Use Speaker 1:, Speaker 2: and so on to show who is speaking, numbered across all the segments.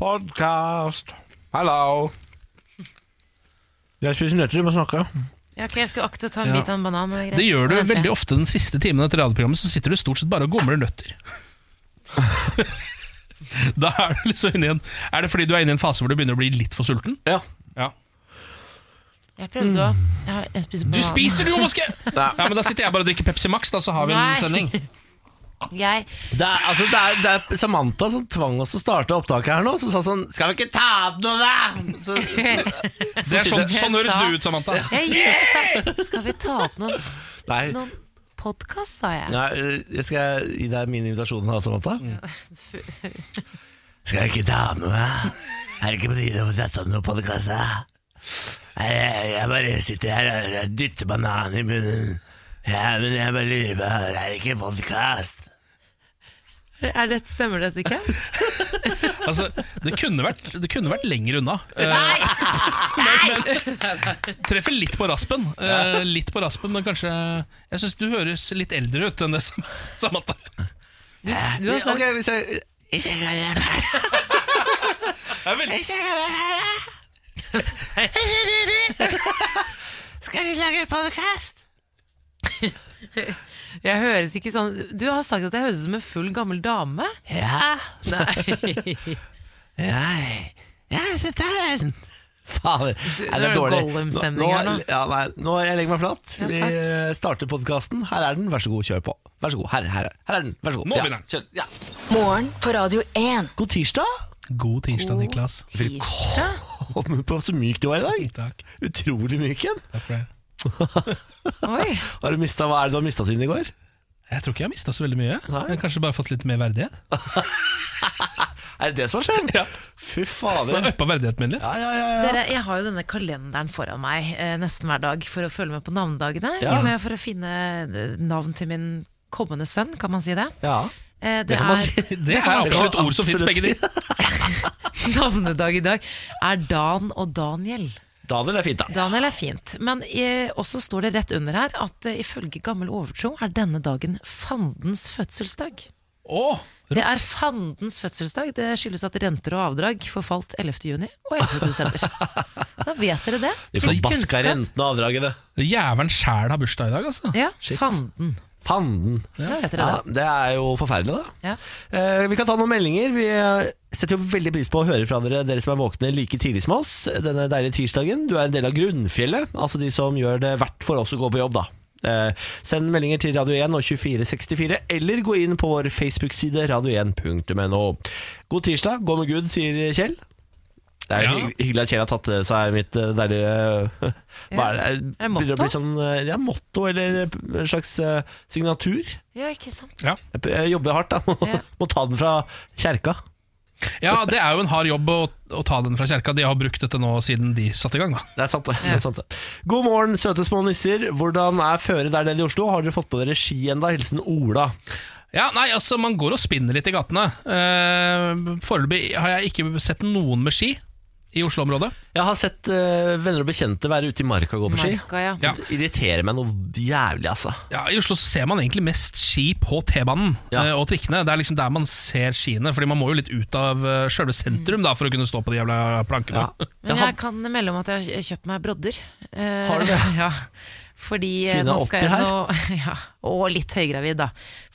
Speaker 1: Podcast. Hallo. Jeg spiser nøtter, du må snakke.
Speaker 2: Ja, ok, Jeg skulle akte å ta en bit av en banan. men
Speaker 3: Det gjør du
Speaker 2: greit.
Speaker 3: veldig ofte den siste timen etter radioprogrammet, så sitter du stort sett bare og gomler nøtter. da er du liksom inne i en Er det fordi du er inne i en fase hvor du begynner å bli litt for sulten?
Speaker 1: Ja.
Speaker 2: Jeg prøvde å jeg har- jeg spiser
Speaker 3: Du
Speaker 2: banan.
Speaker 3: spiser, du, Moske! ja, men da sitter jeg bare og drikker Pepsi Max, da, så har vi en
Speaker 2: Nei.
Speaker 3: sending.
Speaker 2: Jeg,
Speaker 1: Det er, altså, det, er, det er Samantha som tvang oss til å starte opptaket her nå. Som sa sånn Skal vi ikke ta opp noe, da? Så,
Speaker 3: Det er sånn, sånn høres
Speaker 2: sa-
Speaker 3: du ut, Samantha.
Speaker 2: jeg, jeg sa Skal vi ta opp noen,
Speaker 1: nei.
Speaker 2: noen podkast, sa jeg.
Speaker 1: nei. eh, Jeg skal gi deg min invitasjon da, Samantha. Skal vi ikke ta opp noe, da? Er det ikke på tide å sette opp noe podkast, da? Nei, Jeg, jeg bare sitter her og jeg dytter banan i munnen. Ja, men jeg bare lurer på Er det ikke podkast?
Speaker 2: Er det, stemmer det ikke?
Speaker 3: Altså, det kunne vært, det kunne vært lenger unna. Eh, Men, men, treffer litt på raspen. Eh, litt på raspen, men kanskje Jeg syns du høres litt eldre ut enn det som Samantha.
Speaker 2: Du har
Speaker 1: Ok,
Speaker 2: sagt-
Speaker 1: hvis jeg Ikke kan jeg
Speaker 3: Det er veldig,
Speaker 1: Ikke kan jeg Skal vi lage podkast?
Speaker 2: Jeg høres ikke sånn Du har sagt at jeg høres ut som en full, gammel dame.
Speaker 1: Ja.
Speaker 2: Nei.
Speaker 1: Nei. Ja, se der. Fader.
Speaker 2: Du-
Speaker 1: Nei,
Speaker 2: nå er det
Speaker 1: dårlig.
Speaker 2: Gollum-stemning
Speaker 1: Nå-
Speaker 2: her nå.
Speaker 1: Ja, nei, nå jeg legger meg flat.
Speaker 2: Ja,
Speaker 1: Vi
Speaker 2: takk.
Speaker 1: eh, starter podkasten. Her er den, vær så god, kjør på. Vær så god. Her, her, her er den, vær så god.
Speaker 3: Nå
Speaker 1: ja,
Speaker 3: begynner
Speaker 1: kjør. Ja.
Speaker 4: Morgen på Radio 1.
Speaker 1: God tirsdag.
Speaker 3: God tirsdag, Niklas.
Speaker 2: Tirsdag?
Speaker 1: Kom på så myk du var i dag.
Speaker 3: Takk.
Speaker 1: Utrolig myk en.
Speaker 3: Takk for det.
Speaker 2: Oi.
Speaker 1: Har du mistet, hva er det du har mista siden i går?
Speaker 3: Jeg tror ikke jeg har mista så veldig mye.
Speaker 1: Nei.
Speaker 3: Jeg har kanskje bare fått litt mer verdighet.
Speaker 1: Er det det som har skjedd?
Speaker 3: Ja.
Speaker 1: Fy
Speaker 3: Jeg har
Speaker 1: fader.
Speaker 3: uppa verdigheten min litt.
Speaker 1: Ja, ja, ja, ja.
Speaker 2: Dere, jeg har jo denne kalenderen foran meg eh, nesten hver dag for å følge med på navnedagene.
Speaker 1: Ja.
Speaker 2: i og med For å finne eh, navn til min kommende sønn, kan man si det?
Speaker 1: ja.
Speaker 2: Eh, det,
Speaker 1: Det kan man
Speaker 2: er,
Speaker 1: si.
Speaker 3: Det er absolutt ord som fins,
Speaker 1: Absolutt.
Speaker 3: begge de.
Speaker 2: Navnedag i dag er Dan og Daniel.
Speaker 1: Daniel er fint, da.
Speaker 2: Daniel er fint, men eh, også står det rett under her at eh, ifølge gammel overtro er denne dagen fandens fødselsdag.
Speaker 3: Åh,
Speaker 2: Det er fandens fødselsdag. Det skyldes at renter og avdrag forfalt 11. juni og 11. desember. Da vet dere det.
Speaker 1: De
Speaker 2: Litt
Speaker 1: forbaska
Speaker 2: kunnskap.
Speaker 1: rentene og avdragene.
Speaker 3: Jævelen sjæl har bursdag i dag, altså.
Speaker 2: Ja, fanden.
Speaker 1: Fanden.
Speaker 2: Da vet dere
Speaker 1: Ja,
Speaker 2: det.
Speaker 1: det er jo forferdelig, da.
Speaker 2: Ja.
Speaker 1: Eh, vi kan ta noen meldinger. Vi eh, setter jo veldig pris på å høre fra dere, dere som er våkne like tidlig som oss denne deilige tirsdagen. Du er en del av grunnfjellet, altså de som gjør det verdt for oss å gå på jobb, da. Eh, send meldinger til Radio 1 og 2464, eller gå inn på vår Facebook-side radio1.no. God tirsdag, gå med Gud, sier Kjell. Det er
Speaker 3: Ja.
Speaker 1: hy- hyggelig at Kjell har tatt til seg mitt eh, deilige Hva er det?
Speaker 2: Er det
Speaker 1: Begynner å
Speaker 2: motto?
Speaker 1: bli sånn, eh, ja, motto, eller en slags eh, signatur.
Speaker 2: ja, ikke sant.
Speaker 3: Ja.
Speaker 1: Jeg p- Jeg jobber hardt, da. Må,
Speaker 2: Ja.
Speaker 1: må ta den fra kjerka.
Speaker 3: ja, det er jo en hard jobb å, å ta den fra kjerka. De har brukt dette nå siden de satte i gang, da.
Speaker 1: Det er sant, det. det, er sant, det. God morgen, søte små nisser. Hvordan er føret der nede i Oslo? Har dere fått på dere ski ennå? Hilsen Ola.
Speaker 3: Ja, nei, altså, man går og spinner litt i gatene. Eh, Foreløpig har jeg ikke sett noen med ski i Oslo-området.
Speaker 1: Jeg har sett eh, venner og bekjente være ute i marka og gå på ski.
Speaker 2: Marka, ja.
Speaker 3: Ja.
Speaker 1: Det irriterer meg noe jævlig, altså.
Speaker 3: Ja, I Oslo så ser man egentlig mest ski på T-banen
Speaker 1: Ja.
Speaker 3: eh, og trikkene. Det er liksom der man ser skiene, Fordi man må jo litt ut av eh, sjølve sentrum da for å kunne stå på de jævla plankene.
Speaker 1: Ja.
Speaker 2: Men
Speaker 1: Jeg
Speaker 2: jeg
Speaker 1: har,
Speaker 2: kan melde om at jeg har kjøpt meg brodder. Eh,
Speaker 1: Har du det?
Speaker 2: Ja, fordi eh,
Speaker 1: Siden
Speaker 2: nå
Speaker 1: jeg er
Speaker 2: skal
Speaker 1: 80
Speaker 2: jeg nå ja, Og litt høygravid, da.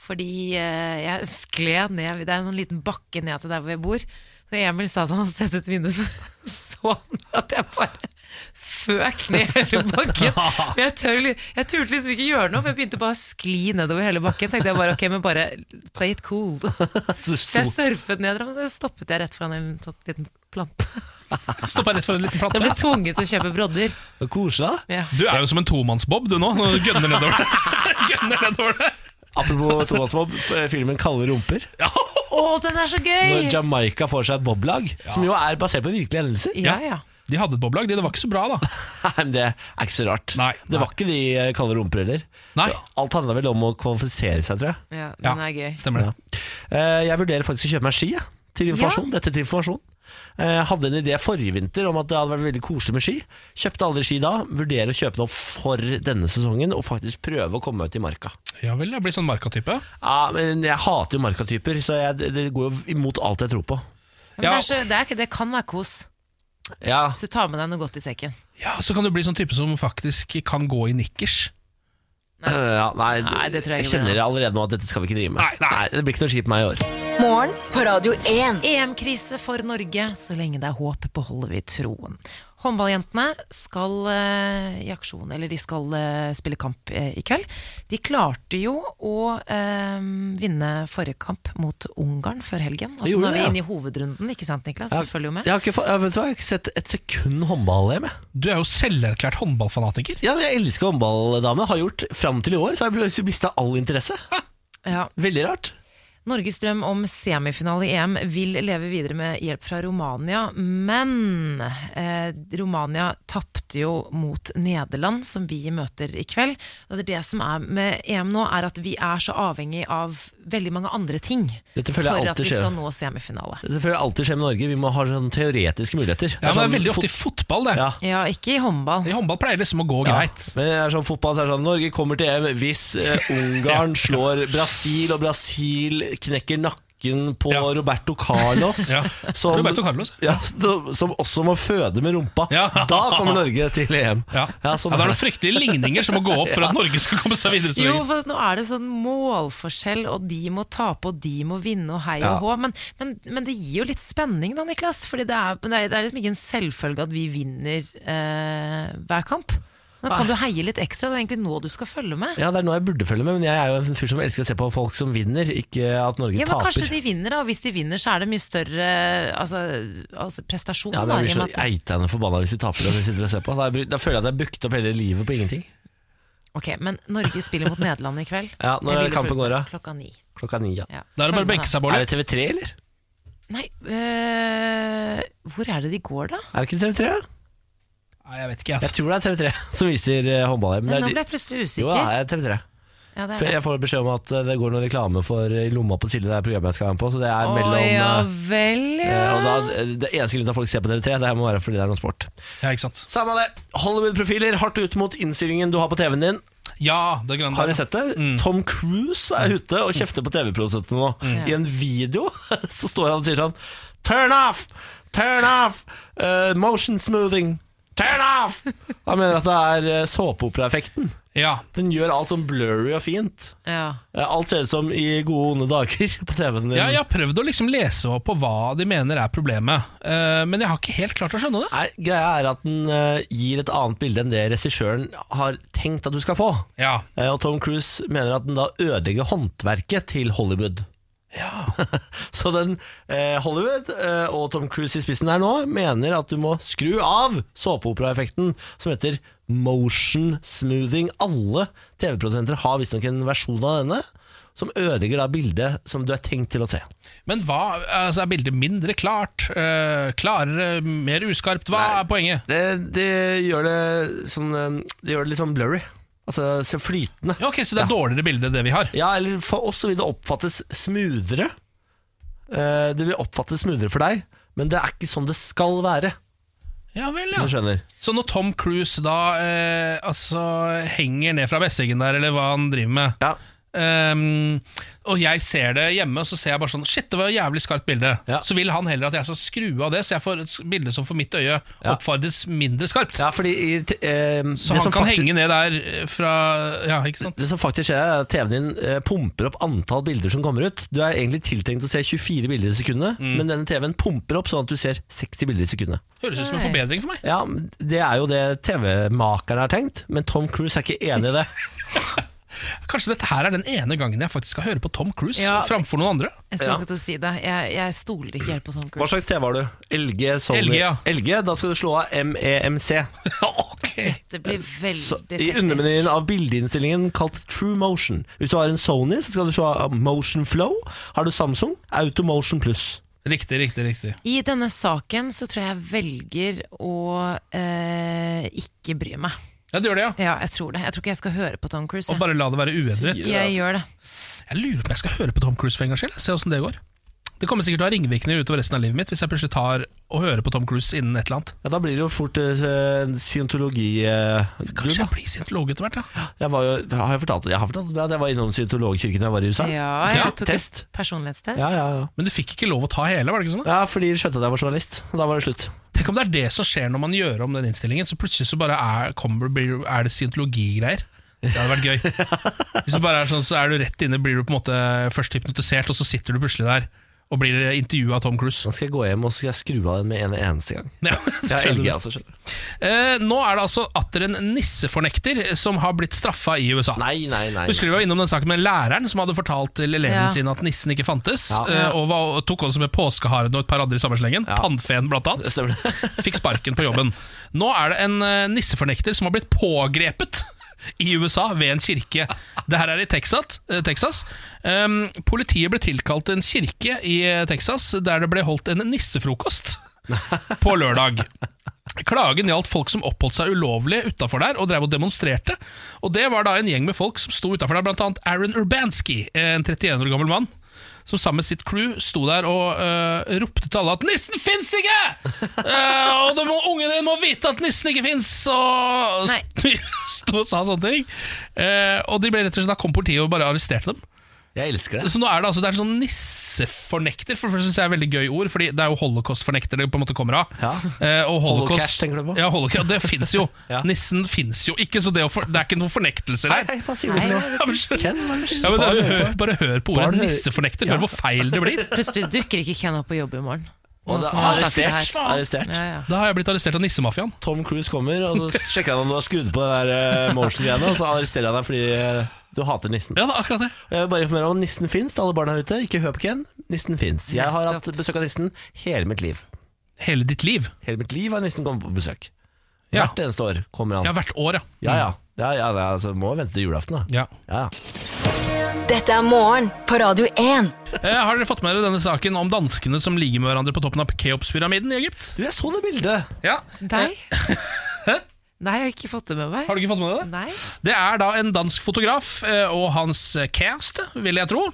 Speaker 2: Fordi eh, jeg skled ned Det er en sånn liten bakke ned til der hvor jeg bor. Så Emil sa at han hadde sett et vindu, så så han at jeg bare føk ned hele bakken. Men Jeg, tør, li- jeg turte liksom ikke gjøre noe, for jeg begynte bare å skli nedover hele bakken. Tenkte jeg bare ok, men bare play it cool.
Speaker 1: så
Speaker 2: Så
Speaker 1: sto,
Speaker 2: jeg surfet ned, og så stoppet jeg rett foran en sånn liten plante.
Speaker 3: Stoppa rett for en liten
Speaker 2: Jeg ble
Speaker 3: plate.
Speaker 2: tvunget til å kjøpe brodder.
Speaker 1: koselig, da.
Speaker 2: Ja.
Speaker 3: Du er jo som en tomannsbob du nå. Når du gønner nedover det. gønner nedover det.
Speaker 1: Apropos Thomas Bob, f- filmen Kalde rumper.
Speaker 2: Å, den er så
Speaker 1: Når
Speaker 2: gøy!
Speaker 1: Jamaica får seg et boblag, som jo er basert på virkelige hendelser.
Speaker 2: Ja, ja.
Speaker 3: De hadde et boblag, de. Det var ikke så bra, da.
Speaker 1: Nei, men Det er ikke så rart.
Speaker 3: Nei.
Speaker 1: det var ikke de eh, kalde rumper heller.
Speaker 3: Nei.
Speaker 1: Alt handla vel om å kvalifisere seg, tror jeg.
Speaker 2: ja den
Speaker 3: Ja.
Speaker 2: er gøy.
Speaker 3: Stemmer det.
Speaker 1: Eh, Jeg vurderer faktisk å kjøpe meg ski jeg, til informasjon. Dette til informasjon. Eh, hadde en idé forrige vinter om at det hadde vært veldig koselig med ski. Kjøpte aldri ski da. Vurderer å kjøpe den opp for denne sesongen og faktisk prøve å komme meg ut i marka.
Speaker 3: Ja vel, jeg blir sånn markatype.
Speaker 1: Ja, men Jeg hater jo markatyper, så jeg, det- det går jo imot alt jeg tror på.
Speaker 2: Men det, er så, det, er ikke, det kan være kos.
Speaker 1: Ja,
Speaker 2: Så du tar med deg noe godt i sekken.
Speaker 3: Ja, Så kan du bli sånn type som faktisk kan gå i nikkers.
Speaker 1: ja nei,
Speaker 2: Nei, det tror jeg
Speaker 1: jeg
Speaker 2: ikke
Speaker 1: kjenner
Speaker 2: det.
Speaker 1: allerede nå at dette skal vi ikke drive med.
Speaker 3: Nei, nei.
Speaker 1: Det blir ikke noe ski på meg i år.
Speaker 4: Morgen på Radio 1.
Speaker 2: EM-krise for Norge. Så lenge det er håp, beholder vi troen. Håndballjentene skal eh, i aksjon, eller de skal eh, spille kamp eh, i kveld. De klarte jo å eh, vinne forrige kamp mot Ungarn før helgen. Altså,
Speaker 1: gjorde
Speaker 2: nå
Speaker 1: det,
Speaker 2: er vi
Speaker 1: ja.
Speaker 2: inne i hovedrunden, ikke sant Niklas? Du følger jo med.
Speaker 1: Jeg har ikke, fa- ja, vet du hva, jeg har ikke sett et sekund håndball hjemme.
Speaker 3: Du er jo selverklært håndballfanatiker.
Speaker 1: Ja, men jeg elsker håndball, dame. Har gjort fram til i år, så har jeg mista all interesse.
Speaker 2: Ja.
Speaker 1: Veldig rart.
Speaker 2: Norges drøm om semifinale i EM vil leve videre med hjelp fra Romania, men eh, Romania tapte jo mot Nederland, som vi møter i kveld. Og det, er det som er med EM nå, er at vi er så avhengig av veldig mange andre ting
Speaker 1: Dette
Speaker 2: for
Speaker 1: føler jeg
Speaker 2: at
Speaker 1: alltid
Speaker 2: vi
Speaker 1: skjer.
Speaker 2: skal nå semifinale.
Speaker 1: Det føler jeg alltid skjer med Norge. Vi må ha sånne teoretiske muligheter.
Speaker 3: Ja, men Det
Speaker 1: sånn
Speaker 3: er veldig ofte i
Speaker 1: fot-
Speaker 3: fotball, det.
Speaker 1: Ja.
Speaker 2: Ja, ikke i håndball.
Speaker 3: I håndball pleier det liksom å gå
Speaker 1: ja.
Speaker 3: greit.
Speaker 1: Men det er sånn fotball så er det sånn Norge kommer til EM hvis eh, Ungarn slår Brasil, og Brasil knekker nakken på
Speaker 3: Ja.
Speaker 1: Roberto Carlos.
Speaker 3: Ja.
Speaker 1: som,
Speaker 3: Roberto Carlos.
Speaker 1: Ja, da- som også må føde med rumpa.
Speaker 3: Ja.
Speaker 1: Da kommer Norge til EM.
Speaker 3: Ja.
Speaker 1: sånn er
Speaker 3: ja, det er
Speaker 1: det.
Speaker 3: noen fryktelige ligninger som må gå opp for at Norge skal komme seg videre. som
Speaker 2: Jo,
Speaker 3: regel.
Speaker 2: for nå er det sånn målforskjell, og de må tape, og de må vinne, og hei
Speaker 1: Ja.
Speaker 2: og hå. Men, men, men det gir jo litt spenning da, Niklas. Fordi det er, det er- det er liksom ikke en selvfølge at vi vinner eh, hver kamp. Nå kan du heie litt ekstra. Det er egentlig nå du skal følge med.
Speaker 1: Ah. Ja, det er noe jeg burde følge med, men jeg er jo en fyr som elsker å se på folk som vinner, ikke at Norge
Speaker 2: Ja, men Kanskje
Speaker 1: taper.
Speaker 2: de vinner, da. Og hvis de vinner, så er det mye større altså, altså prestasjon.
Speaker 1: Ja, men
Speaker 2: da,
Speaker 1: jeg
Speaker 2: i
Speaker 1: blir
Speaker 2: og
Speaker 1: så
Speaker 2: med at-
Speaker 1: eitende forbanna hvis de taper. Og sitter og ser på. Da, er jeg bru- da føler jeg at jeg har brukt opp hele livet på ingenting.
Speaker 2: Ok, Men Norge spiller mot Nederland i kveld.
Speaker 1: Ja, når
Speaker 2: Jeg
Speaker 1: er
Speaker 2: ville
Speaker 1: kampen
Speaker 2: fulgt
Speaker 1: går, da?
Speaker 2: med Klokka ni.
Speaker 1: Klokka ni, ja.
Speaker 2: Ja.
Speaker 3: Da er det bare å
Speaker 2: Følg med,
Speaker 3: benke
Speaker 2: da.
Speaker 3: seg,
Speaker 1: Er
Speaker 3: Bård.
Speaker 1: det TV3, eller?
Speaker 2: Nei, øh, hvor er det de går, da?
Speaker 1: Er det ikke TV3? ja?
Speaker 3: Nei, jeg vet ikke,
Speaker 1: Jeg
Speaker 3: altså.
Speaker 1: tror det er TV3 som viser eh, håndball. Men
Speaker 2: Nei,
Speaker 1: det
Speaker 2: nå
Speaker 1: er
Speaker 2: ble
Speaker 1: de-
Speaker 2: jeg plutselig
Speaker 1: jo, det
Speaker 2: usikker.
Speaker 1: er TV3.
Speaker 2: Ja, det er
Speaker 1: For
Speaker 2: det.
Speaker 1: jeg får beskjed om at eh, det går noen reklame for eh, lomma på Silje, det er programmet jeg skal være med på. Så det er mellom
Speaker 2: Å ja
Speaker 1: eh,
Speaker 2: vel, ja.
Speaker 1: eh, og da, eh, Det eneste grunnen til at folk ser på TV3, det her må være fordi det er noe sport.
Speaker 3: Ja, ikke sant?
Speaker 1: Samme det. Hollywood-profiler hardt ut mot innstillingen du har på TV-en din.
Speaker 3: Ja, det grønne
Speaker 1: Har
Speaker 3: der,
Speaker 1: du sett det?
Speaker 3: Mm.
Speaker 1: Tom Cruise er ute og kjefter på TV-produsentene nå.
Speaker 3: Mm.
Speaker 1: I en video så står han og sier sånn Turn off! Turn off! Eh, motion smoothing! Turn off! Han mener at det er eh, såpeoperaeffekten.
Speaker 3: Ja,
Speaker 1: Den gjør alt sånn blurry og fint.
Speaker 2: ja.
Speaker 1: Eh, Alt ser ut som i gode, onde dager på TV-en din.
Speaker 3: ja, jeg har prøvd å liksom lese opp på hva de mener er problemet, eh, men jeg har ikke helt klart å skjønne det.
Speaker 1: Nei, greia er at den eh, gir et annet bilde enn det regissøren har tenkt at du skal få.
Speaker 3: Ja,
Speaker 1: Eh, og Tom Cruise mener at den da ødelegger håndverket til Hollywood. Så den eh, Hollywood eh, og Tom Cruise i spissen her nå mener at du må skru av såpeoperaeffekten som heter motion smoothing. Alle TV-produsenter har visstnok en versjon av denne som ødelegger da bildet som du er tenkt til å se.
Speaker 3: Men hva, altså er bildet mindre klart? eh, klarere, mer uskarpt? Hva er poenget?
Speaker 1: Det, det gjør det sånn eh, Det gjør det litt sånn blurry. Altså så flytende.
Speaker 3: Ja, ok, Så det er dårligere bilde det vi har?
Speaker 1: Ja, eller for oss så vil det oppfattes smoothere. Eh, Det vil oppfattes smoothere for deg, men det er ikke sånn det skal være.
Speaker 3: Ja vel,
Speaker 1: Du
Speaker 3: ja.
Speaker 1: skjønner.
Speaker 3: Så når Tom Cruise da eh, altså henger ned fra Besseggen der, eller hva han driver med
Speaker 1: Ja.
Speaker 3: ehm, og jeg ser det hjemme, og så ser jeg bare sånn Shit, det var et jævlig skarpt bilde.
Speaker 1: Ja.
Speaker 3: Så vil han heller at jeg skal skru av det, så jeg får et s- bilde som for mitt øye
Speaker 1: Ja.
Speaker 3: oppfordres mindre skarpt.
Speaker 1: ja, fordi i, t- eh,
Speaker 3: Så
Speaker 1: det,
Speaker 3: han
Speaker 1: som
Speaker 3: kan
Speaker 1: fakti-
Speaker 3: henge ned der eh, fra Ja, ikke sant?
Speaker 1: det som faktisk skjer, er at TV-en din eh, pumper opp antall bilder som kommer ut. Du er egentlig tiltenkt å se 24 bilder i sekundet,
Speaker 3: Mm.
Speaker 1: men denne TV-en pumper opp sånn at du ser 60 bilder i sekundet.
Speaker 3: Høres ut som en
Speaker 2: Nei.
Speaker 3: forbedring for meg.
Speaker 1: Ja, Det er jo det TV-makerne har tenkt, men Tom Cruise er ikke enig i det.
Speaker 3: Kanskje dette her er den ene gangen jeg faktisk skal høre på Tom Cruise
Speaker 2: Ja.
Speaker 3: framfor noen andre.
Speaker 2: Jeg skulle
Speaker 1: Ja.
Speaker 2: ikke til å si det. Jeg, jeg stoler ikke helt på sånn Tom Cruise.
Speaker 1: Hva slags TV har du? LG, Sony
Speaker 3: LG, ja.
Speaker 1: E LG, da skal du slå av MEMC.
Speaker 3: Ok.
Speaker 2: Dette blir veldig
Speaker 1: Så, I
Speaker 2: teknisk.
Speaker 1: undermenyen av bildeinnstillingen kalt True Motion. Hvis du har en Sony, så skal du se Motion Flow. Har du Samsung, Automotion Pluss.
Speaker 3: Riktig, riktig, riktig.
Speaker 2: I denne saken så tror jeg jeg velger å eh, ikke bry meg.
Speaker 3: Ja, det gjør det, ja.
Speaker 2: Ja, jeg tror det. Jeg tror ikke jeg skal høre på Tom Cruise.
Speaker 3: Og
Speaker 2: Jeg,
Speaker 3: bare la det være uendret.
Speaker 2: jeg gjør det.
Speaker 3: Jeg lurer på om jeg skal høre på Tom Cruise for en gangs skyld. Se åssen det går. Det kommer sikkert til å ha ringvirkninger utover resten av livet mitt hvis jeg plutselig tar og hører på Tom Cruise innen et eller annet.
Speaker 1: Ja, da blir det jo fort eh, scientologi... Eh,
Speaker 3: Kanskje
Speaker 1: grunn,
Speaker 3: jeg blir scientolog etter hvert, ja.
Speaker 1: da. jeg, var jo, har jeg, fortalt, jeg har fortalt det, at jeg var innom scientologkirken da jeg var i USA.
Speaker 2: Ja,
Speaker 3: Ja,
Speaker 2: jeg tok et
Speaker 1: test.
Speaker 2: personlighetstest.
Speaker 1: Ja, ja, ja.
Speaker 3: Men du fikk ikke lov å ta hele, var det ikke sånn? da?
Speaker 1: ja, fordi de skjønte at jeg var journalist. og Da var det slutt.
Speaker 3: Tenk om det er det som skjer når man gjør om den innstillingen, så plutselig så bare er, kommer, blir, er det scientologigreier. Det hadde vært gøy. Hvis det bare er sånn, så er du rett inne, blir du på en måte først hypnotisert, og så sitter du plutselig der og blir intervjua av Tom Cruise.
Speaker 1: Da skal jeg gå hjem og så skal jeg skru av den med en eneste gang.
Speaker 3: Ja,
Speaker 1: Jeg er
Speaker 3: tror
Speaker 1: LG,
Speaker 3: det.
Speaker 1: altså, skjønner du.
Speaker 3: Eh, nå er det altså atter en nissefornekter som har blitt straffa i USA.
Speaker 1: Nei, nei, nei.
Speaker 3: Husker du vi var innom den saken med læreren som hadde fortalt til eleven
Speaker 2: Ja.
Speaker 3: sin at nissen ikke fantes,
Speaker 1: Ja.
Speaker 3: eh, og, var, og tok også med påskeharen og et par andre i samme slengen. Tannfeen, blant annet.
Speaker 1: Stemmer det?
Speaker 3: Fikk sparken på jobben. Nå er det en eh, nissefornekter som har blitt pågrepet i USA ved en kirke. Det her er i Texas. eh, Texas. Um, politiet ble tilkalt til en kirke i eh, Texas der det ble holdt en nissefrokost på lørdag. Klagen gjaldt folk som oppholdt seg ulovlig utafor der og drev og demonstrerte. Og Det var da en gjeng med folk som sto utafor der, bl.a. Aaron Urbanski, en 31 år gammel mann som sammen med sitt crew sto der og øh, ropte til alle at 'nissen fins ikke!' Eh, og det må, ungen din må vite at nissen ikke fins! Og
Speaker 2: Nei.
Speaker 3: sto og sa sånne ting. Eh, og de ble rett og slett, da kom politiet og bare arresterte dem.
Speaker 1: Jeg elsker det.
Speaker 3: Så nå er det altså det er sånn nissefornekter, for det første synes jeg er et veldig gøy ord, fordi det er jo holocaustfornekter det på en måte kommer av.
Speaker 1: Ja.
Speaker 3: Eh, og holocaust,
Speaker 1: Holocaust tenker du på?
Speaker 3: Ja, holocaust, det fins jo.
Speaker 1: Ja.
Speaker 3: Nissen fins jo ikke, så det, å for, det er ikke noen fornektelser
Speaker 1: Nei,
Speaker 3: her.
Speaker 1: nei, hva sier du for noe?
Speaker 3: Ja, men skjønner-
Speaker 1: Ken, hva er det du sier?
Speaker 3: Ja, men
Speaker 1: Bare
Speaker 3: det,
Speaker 1: hør
Speaker 3: hør,
Speaker 1: på.
Speaker 3: bare hør på
Speaker 1: Bare
Speaker 3: ordet
Speaker 1: hør.
Speaker 3: nissefornekter,
Speaker 1: Ja.
Speaker 3: hør hvor feil det blir.
Speaker 2: Plutselig dukker ikke Ken opp på jobb i morgen.
Speaker 1: Og
Speaker 2: Nå
Speaker 1: det
Speaker 2: som
Speaker 1: er
Speaker 2: han har sagt det
Speaker 1: arrestert.
Speaker 2: her.
Speaker 1: arrestert.
Speaker 2: Ja, ja.
Speaker 3: Da har jeg blitt arrestert av nissemafiaen.
Speaker 1: Tom Cruise kommer, og så sjekker han om du har skrudd på den der eh, motion-greiene, og så arresterer han deg fordi eh, du hater nissen.
Speaker 3: Ja, det er akkurat det.
Speaker 1: Jeg vil bare informere om at nissen fins til alle barn her ute. Ikke hør på Ken, nissen fins. Jeg har hatt besøk av nissen hele mitt liv.
Speaker 3: Hele ditt liv.
Speaker 1: Hele mitt liv har nissen kommet på besøk.
Speaker 3: Ja.
Speaker 1: Hvert eneste år kommer
Speaker 3: Ja,
Speaker 1: han.
Speaker 3: hvert år, ja.
Speaker 1: Ja ja. ja, ja, ja altså, må vente til julaften, da.
Speaker 3: Ja.
Speaker 1: Ja, ja.
Speaker 4: Dette er morgen på Radio 1.
Speaker 3: Eh, har dere fått med dere denne saken om danskene som ligger med hverandre på toppen av Keopspyramiden i Egypt?
Speaker 1: Du, jeg så det bildet!
Speaker 3: Ja.
Speaker 2: Deg? Nei, jeg har ikke fått det med meg.
Speaker 3: Har du ikke fått med deg det?
Speaker 2: Nei.
Speaker 3: Det er da en dansk fotograf eh, og hans kjæreste, vil jeg tro.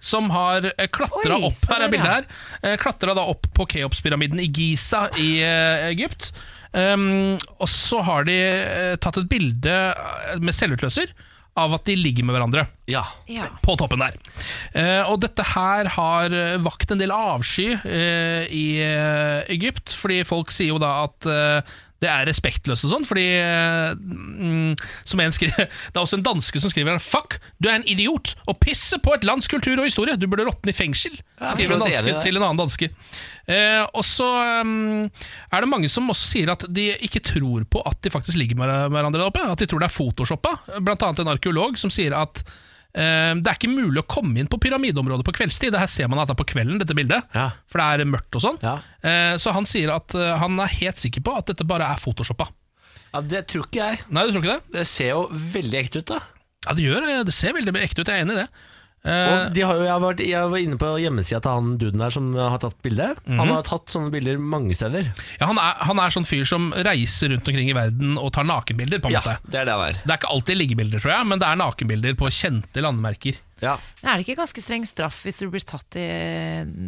Speaker 3: Som har klatra
Speaker 2: Oi,
Speaker 3: opp
Speaker 2: sånn
Speaker 3: her er
Speaker 2: er det,
Speaker 3: bildet her eh, klatret da opp på Keopspyramiden i Giza i eh, Egypt. Um, og så har de eh, tatt et bilde eh, med selvutløser av at de ligger med hverandre.
Speaker 1: Ja.
Speaker 2: Ja.
Speaker 3: på toppen der. Eh, og dette her har eh, vakt en del avsky eh, i eh, Egypt, fordi folk sier jo da at eh, det er respektløst og sånn, fordi eh, mm, som en skri- Det er også en danske som skriver her, 'Fuck, du er en idiot og pisser på et lands kultur og historie. Du burde råtne i fengsel',
Speaker 1: Ja, jeg
Speaker 3: skriver en
Speaker 1: forstår at det er
Speaker 3: danske
Speaker 1: det.
Speaker 3: til en annen danske. Eh, og så ehm, er det mange som også sier at de ikke tror på at de faktisk ligger med hverandre der oppe. At de tror det er photoshoppa. Blant annet en arkeolog som sier at eh, det er ikke mulig å komme inn på pyramideområdet på kveldstid. Det her ser man at det er på kvelden, dette bildet.
Speaker 1: Ja.
Speaker 3: For det er mørkt og sånn.
Speaker 1: Ja.
Speaker 3: Eh, så han sier at eh, han er helt sikker på at dette bare er photoshoppa.
Speaker 1: ja det tror ikke jeg.
Speaker 3: Nei, du tror ikke det?
Speaker 1: Det ser jo veldig ekte ut, da.
Speaker 3: Ja, det gjør det. Det ser veldig ekte ut. Jeg er enig i det. Eh,
Speaker 1: Og de har jo, jeg, har vært, jeg var inne på hjemmesida til han duden her som har tatt bilde.
Speaker 3: Mhm.
Speaker 1: Han har tatt sånne bilder mange steder.
Speaker 3: ja, han, er, han er sånn fyr som reiser rundt omkring i verden og tar nakenbilder, på en måte.
Speaker 1: det er det han er.
Speaker 3: Det er ikke alltid liggebilder, tror jeg, men det er nakenbilder på kjente landemerker.
Speaker 1: Ja.
Speaker 2: Men Er det ikke ganske streng straff hvis du blir tatt i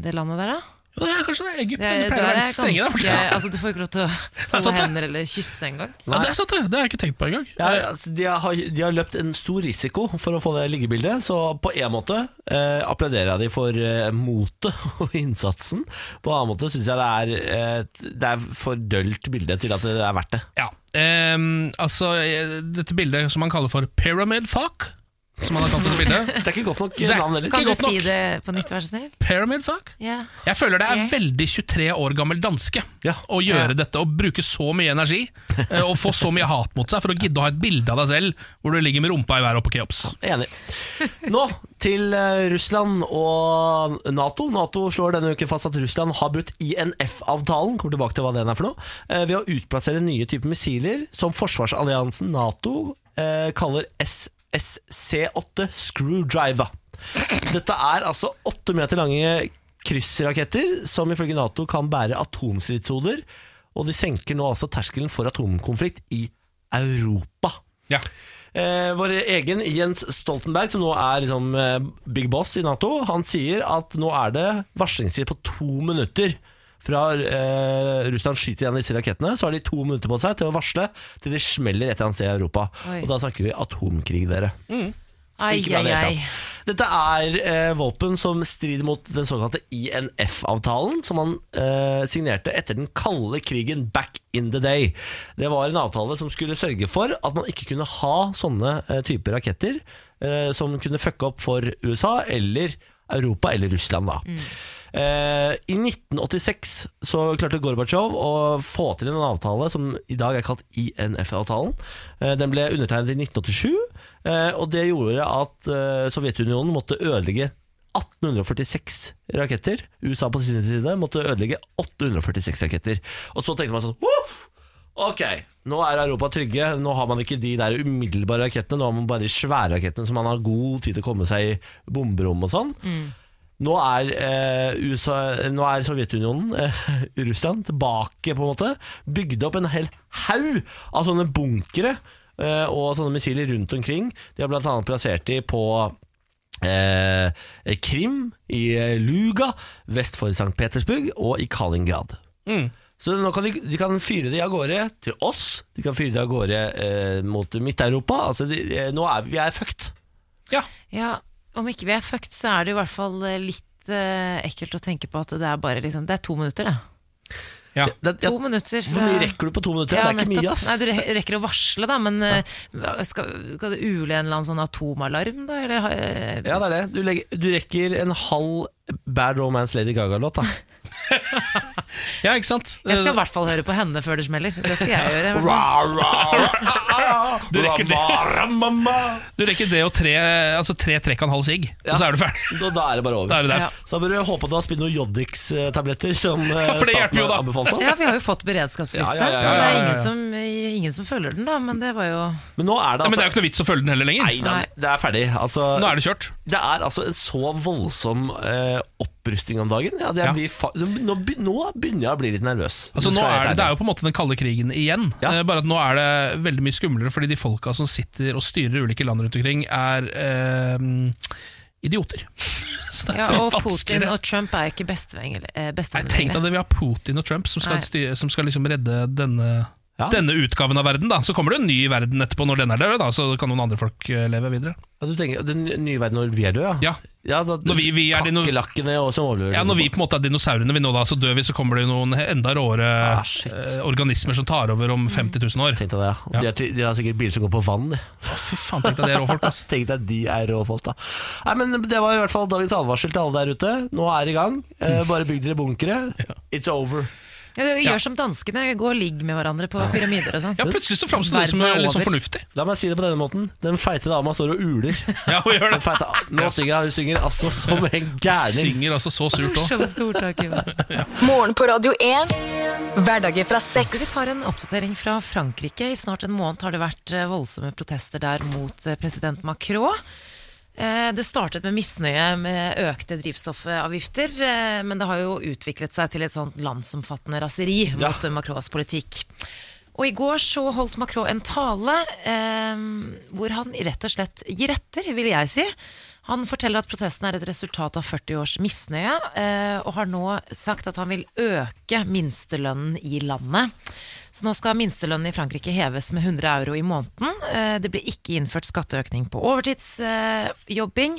Speaker 2: det landet der, da?
Speaker 3: Jo, det er kanskje det. Egypt det,
Speaker 2: Det,
Speaker 3: pleier
Speaker 2: der
Speaker 3: å være
Speaker 2: er
Speaker 3: litt strenge der.
Speaker 2: ganske,
Speaker 3: faktisk.
Speaker 2: altså, du får ikke lov til å
Speaker 3: er
Speaker 2: holde
Speaker 3: sant, det.
Speaker 2: hender eller kysse engang.
Speaker 3: Ja, det er sant, det. Det har jeg ikke tenkt på engang. Eh,
Speaker 1: Ja, altså, de, har, de har løpt en stor risiko for å få det liggebildet, så på en måte eh, applauderer jeg de for eh, motet og innsatsen. På en annen måte syns jeg det er, eh, det er for dølt bilde til at det er verdt det.
Speaker 3: Ja. Ehm, altså, eh, dette bildet som han kaller for pyramid fuck som han har kalt dette bildet.
Speaker 1: Det er ikke godt nok eh,
Speaker 3: Det-
Speaker 1: navn heller.
Speaker 3: Ikke
Speaker 2: Kan du
Speaker 3: godt nok.
Speaker 2: si det på nytt, vær så snill?
Speaker 3: Pyramid fuck?
Speaker 2: Ja.
Speaker 3: Jeg føler det er
Speaker 2: Ok.
Speaker 3: veldig 23 år gammel danske
Speaker 1: Ja.
Speaker 3: å gjøre dette og bruke så mye energi eh, og få så mye hat mot seg for å gidde å ha et bilde av deg selv hvor du ligger med rumpa i været og på keops.
Speaker 1: Enig. Nå til eh, Russland og Nato. Nato slår denne uken fast at Russland har brutt INF-avtalen kommer tilbake til hva den er for noe, eh, ved å utplassere nye typer missiler som forsvarsalliansen Nato eh, kaller SSC-8 Screwdriver. Dette er altså åtte meter lange kryssraketter som ifølge Nato kan bære atomstridshoder, og de senker nå altså terskelen for atomkonflikt i Europa.
Speaker 3: Ja.
Speaker 1: Eh, vår egen Jens Stoltenberg, som nå er liksom, eh, big boss i Nato, han sier at nå er det varslingstid på to minutter. Fra eh, Russland skyter igjen disse rakettene, så har de to minutter på seg til å varsle til det smeller et eller annet sted i Europa.
Speaker 2: Oi.
Speaker 1: Og da snakker vi atomkrig, dere.
Speaker 2: Ai,
Speaker 1: Ikke bra i
Speaker 2: ai,
Speaker 1: det
Speaker 2: ai.
Speaker 1: hele tatt. Dette er eh, våpen som strider mot den såkalte INF-avtalen, som man eh, signerte etter den kalde krigen back in the day. Det var en avtale som skulle sørge for at man ikke kunne ha sånne eh, typer raketter eh, som kunne fucke opp for USA eller Europa eller Russland. da.
Speaker 2: Mm.
Speaker 1: Eh, I 1986 så klarte Gorbatsjov å få til en avtale som i dag er kalt INF-avtalen. Eh, den ble undertegnet i 1987, eh, og det gjorde at eh, Sovjetunionen måtte ødelegge 1846 raketter. USA på sin side måtte ødelegge 846 raketter. Og så tenkte man sånn Voff! Ok, nå er Europa trygge. Nå har man ikke de der umiddelbare rakettene. Nå har man bare de svære rakettene som man har god tid til å komme seg i bomberom og sånn. Nå er, eh, USA, nå er Sovjetunionen, eh, Russland, tilbake på en måte. Bygde opp en hel haug av sånne bunkere eh, og sånne missiler rundt omkring. De har blant annet plassert de på eh, Krim, i eh, Luga, vest for St. Petersburg og i Kaliningrad.
Speaker 2: Mm.
Speaker 1: Så nå kan de, de kan fyre de av gårde til oss, de kan fyre de av gårde eh, mot Midt-Europa. Altså, de, eh, nå er vi- vi er fucked.
Speaker 3: ja.
Speaker 2: Ja, om ikke vi er fucked, så er det i hvert fall eh, litt eh, ekkelt å tenke på at det er bare liksom, det er to minutter, da.
Speaker 3: ja.
Speaker 1: Det, ja,
Speaker 2: To minutter fra
Speaker 1: hvor mye rekker du på to minutter?
Speaker 2: Ja,
Speaker 1: det er ikke
Speaker 2: nettopp.
Speaker 1: mye, ass.
Speaker 2: Nei, du re- rekker å varsle, da, men eh, skal, skal du ule en eller annen sånn atomalarm, da? Eller, ha- eh,
Speaker 1: Ja, det er det. Du, legger, du rekker en halv Bad Romance Lady Gaga-låt, da.
Speaker 3: ja, ikke sant?
Speaker 2: jeg skal i
Speaker 3: Eh,
Speaker 2: hvert fall høre på henne før det smeller. Det skal jeg gjøre. i hvert fall.
Speaker 1: Ra, ra, ra, ra,
Speaker 3: Du rekker det.
Speaker 1: ra, ra, ma, ma.
Speaker 3: Du rekker det og tre, altså tre trekk og en halv sigg,
Speaker 1: Ja.
Speaker 3: og så er du ferdig.
Speaker 1: Da, da er det bare over.
Speaker 3: Da er du der.
Speaker 2: Ja.
Speaker 1: Så da bør du håpe at du har spist noen Jodix-tabletter, som eh,
Speaker 3: Ja, for det hjelper
Speaker 1: staten
Speaker 3: jo da.
Speaker 1: anbefalte.
Speaker 2: Ja, vi har jo fått beredskapsliste.
Speaker 1: Ja, ja, ja, ja,
Speaker 2: Det
Speaker 3: ja,
Speaker 2: er
Speaker 3: ja.
Speaker 2: ingen som, eh, ingen som følger den, da, men det var jo
Speaker 1: Men nå er det
Speaker 3: Ja, men
Speaker 1: altså
Speaker 3: det er jo ikke noe vits å følge den heller lenger.
Speaker 1: Nei, da, det er ferdig. Altså,
Speaker 3: Nå er det kjørt.
Speaker 1: det er altså en så voldsom eh, opprustning om dagen. Ja, det
Speaker 3: Ja.
Speaker 1: blir fa nå, be- nå begynner jeg å bli litt nervøs.
Speaker 3: Altså, nå er det, det er jo på en måte den kalde krigen igjen,
Speaker 1: Ja.
Speaker 3: Eh, bare at nå er det veldig mye skumlere fordi de folka som sitter og styrer ulike land rundt omkring, er eh, idioter. Så det er
Speaker 2: ja, Og
Speaker 3: litt
Speaker 2: Putin
Speaker 3: vanskeligere.
Speaker 2: og Trump er jo ikke bestevenner. eh,
Speaker 3: Nei, tenk deg
Speaker 2: bestevenner.
Speaker 3: det, vi har Putin og Trump som skal,
Speaker 2: Nei.
Speaker 3: styre, som skal liksom redde denne,
Speaker 1: Ja.
Speaker 3: denne utgaven av verden. da Så kommer det en ny verden etterpå, når den er død, da, så kan noen andre folk eh, leve videre.
Speaker 1: ja, Du tenker Den nye verden når vi er døde,
Speaker 3: Ja,
Speaker 1: ja da,
Speaker 3: Når vi- vi er dino-
Speaker 1: Kakerlakkene og som overlever.
Speaker 3: ja Når vi på en måte er dinosaurene, vi nå da så dør vi, så kommer det noen enda råere
Speaker 1: Ah, shit.
Speaker 3: eh, organismer som tar over om 50 000 år.
Speaker 1: Tenk deg det, ja.
Speaker 3: Ja.
Speaker 1: De, har, ty- de har sikkert biler som går på vann. de.
Speaker 3: Fy faen, tenk deg det, råfolk. Altså.
Speaker 1: Tenk deg de er råfolk, da. Nei, men Det var i hvert fall dagens advarsel til alle der ute. Nå er det i gang. Eh, bare bygg dere bunkere. It's over.
Speaker 2: Ja, gjør som danskene, gå og ligg med hverandre på pyramider og sånn.
Speaker 3: Ja, plutselig så framstår det som
Speaker 2: Verden er
Speaker 3: litt sånn
Speaker 2: over.
Speaker 3: fornuftig.
Speaker 1: La meg si det på denne måten. Den feite dama står og uler.
Speaker 3: Ja, hun gjør
Speaker 1: Den
Speaker 3: det.
Speaker 1: feite, nå synger hun, hun synger altså som en gærning.
Speaker 3: Synger altså så surt òg.
Speaker 2: Morsomste ordtaket. hva?
Speaker 4: Morgen på Radio 1. Hverdager fra
Speaker 2: Vi
Speaker 4: seks.
Speaker 2: tar en oppdatering fra Frankrike. I snart en måned har det vært eh, voldsomme protester der mot eh, president Macron. Eh, Det startet med misnøye med økte drivstoffavgifter, eh, men det har jo utviklet seg til et sånt landsomfattende raseri mot eh, Macrons politikk. Og i går så holdt Macron en tale eh, hvor han rett og slett gir etter, vil jeg si. Han forteller at protesten er et resultat av 40 års misnøye, eh, og har nå sagt at han vil øke minstelønnen i landet. Så nå skal minstelønnen i Frankrike heves med 100 euro i måneden. Eh, Det blir ikke innført skatteøkning på overtidsjobbing.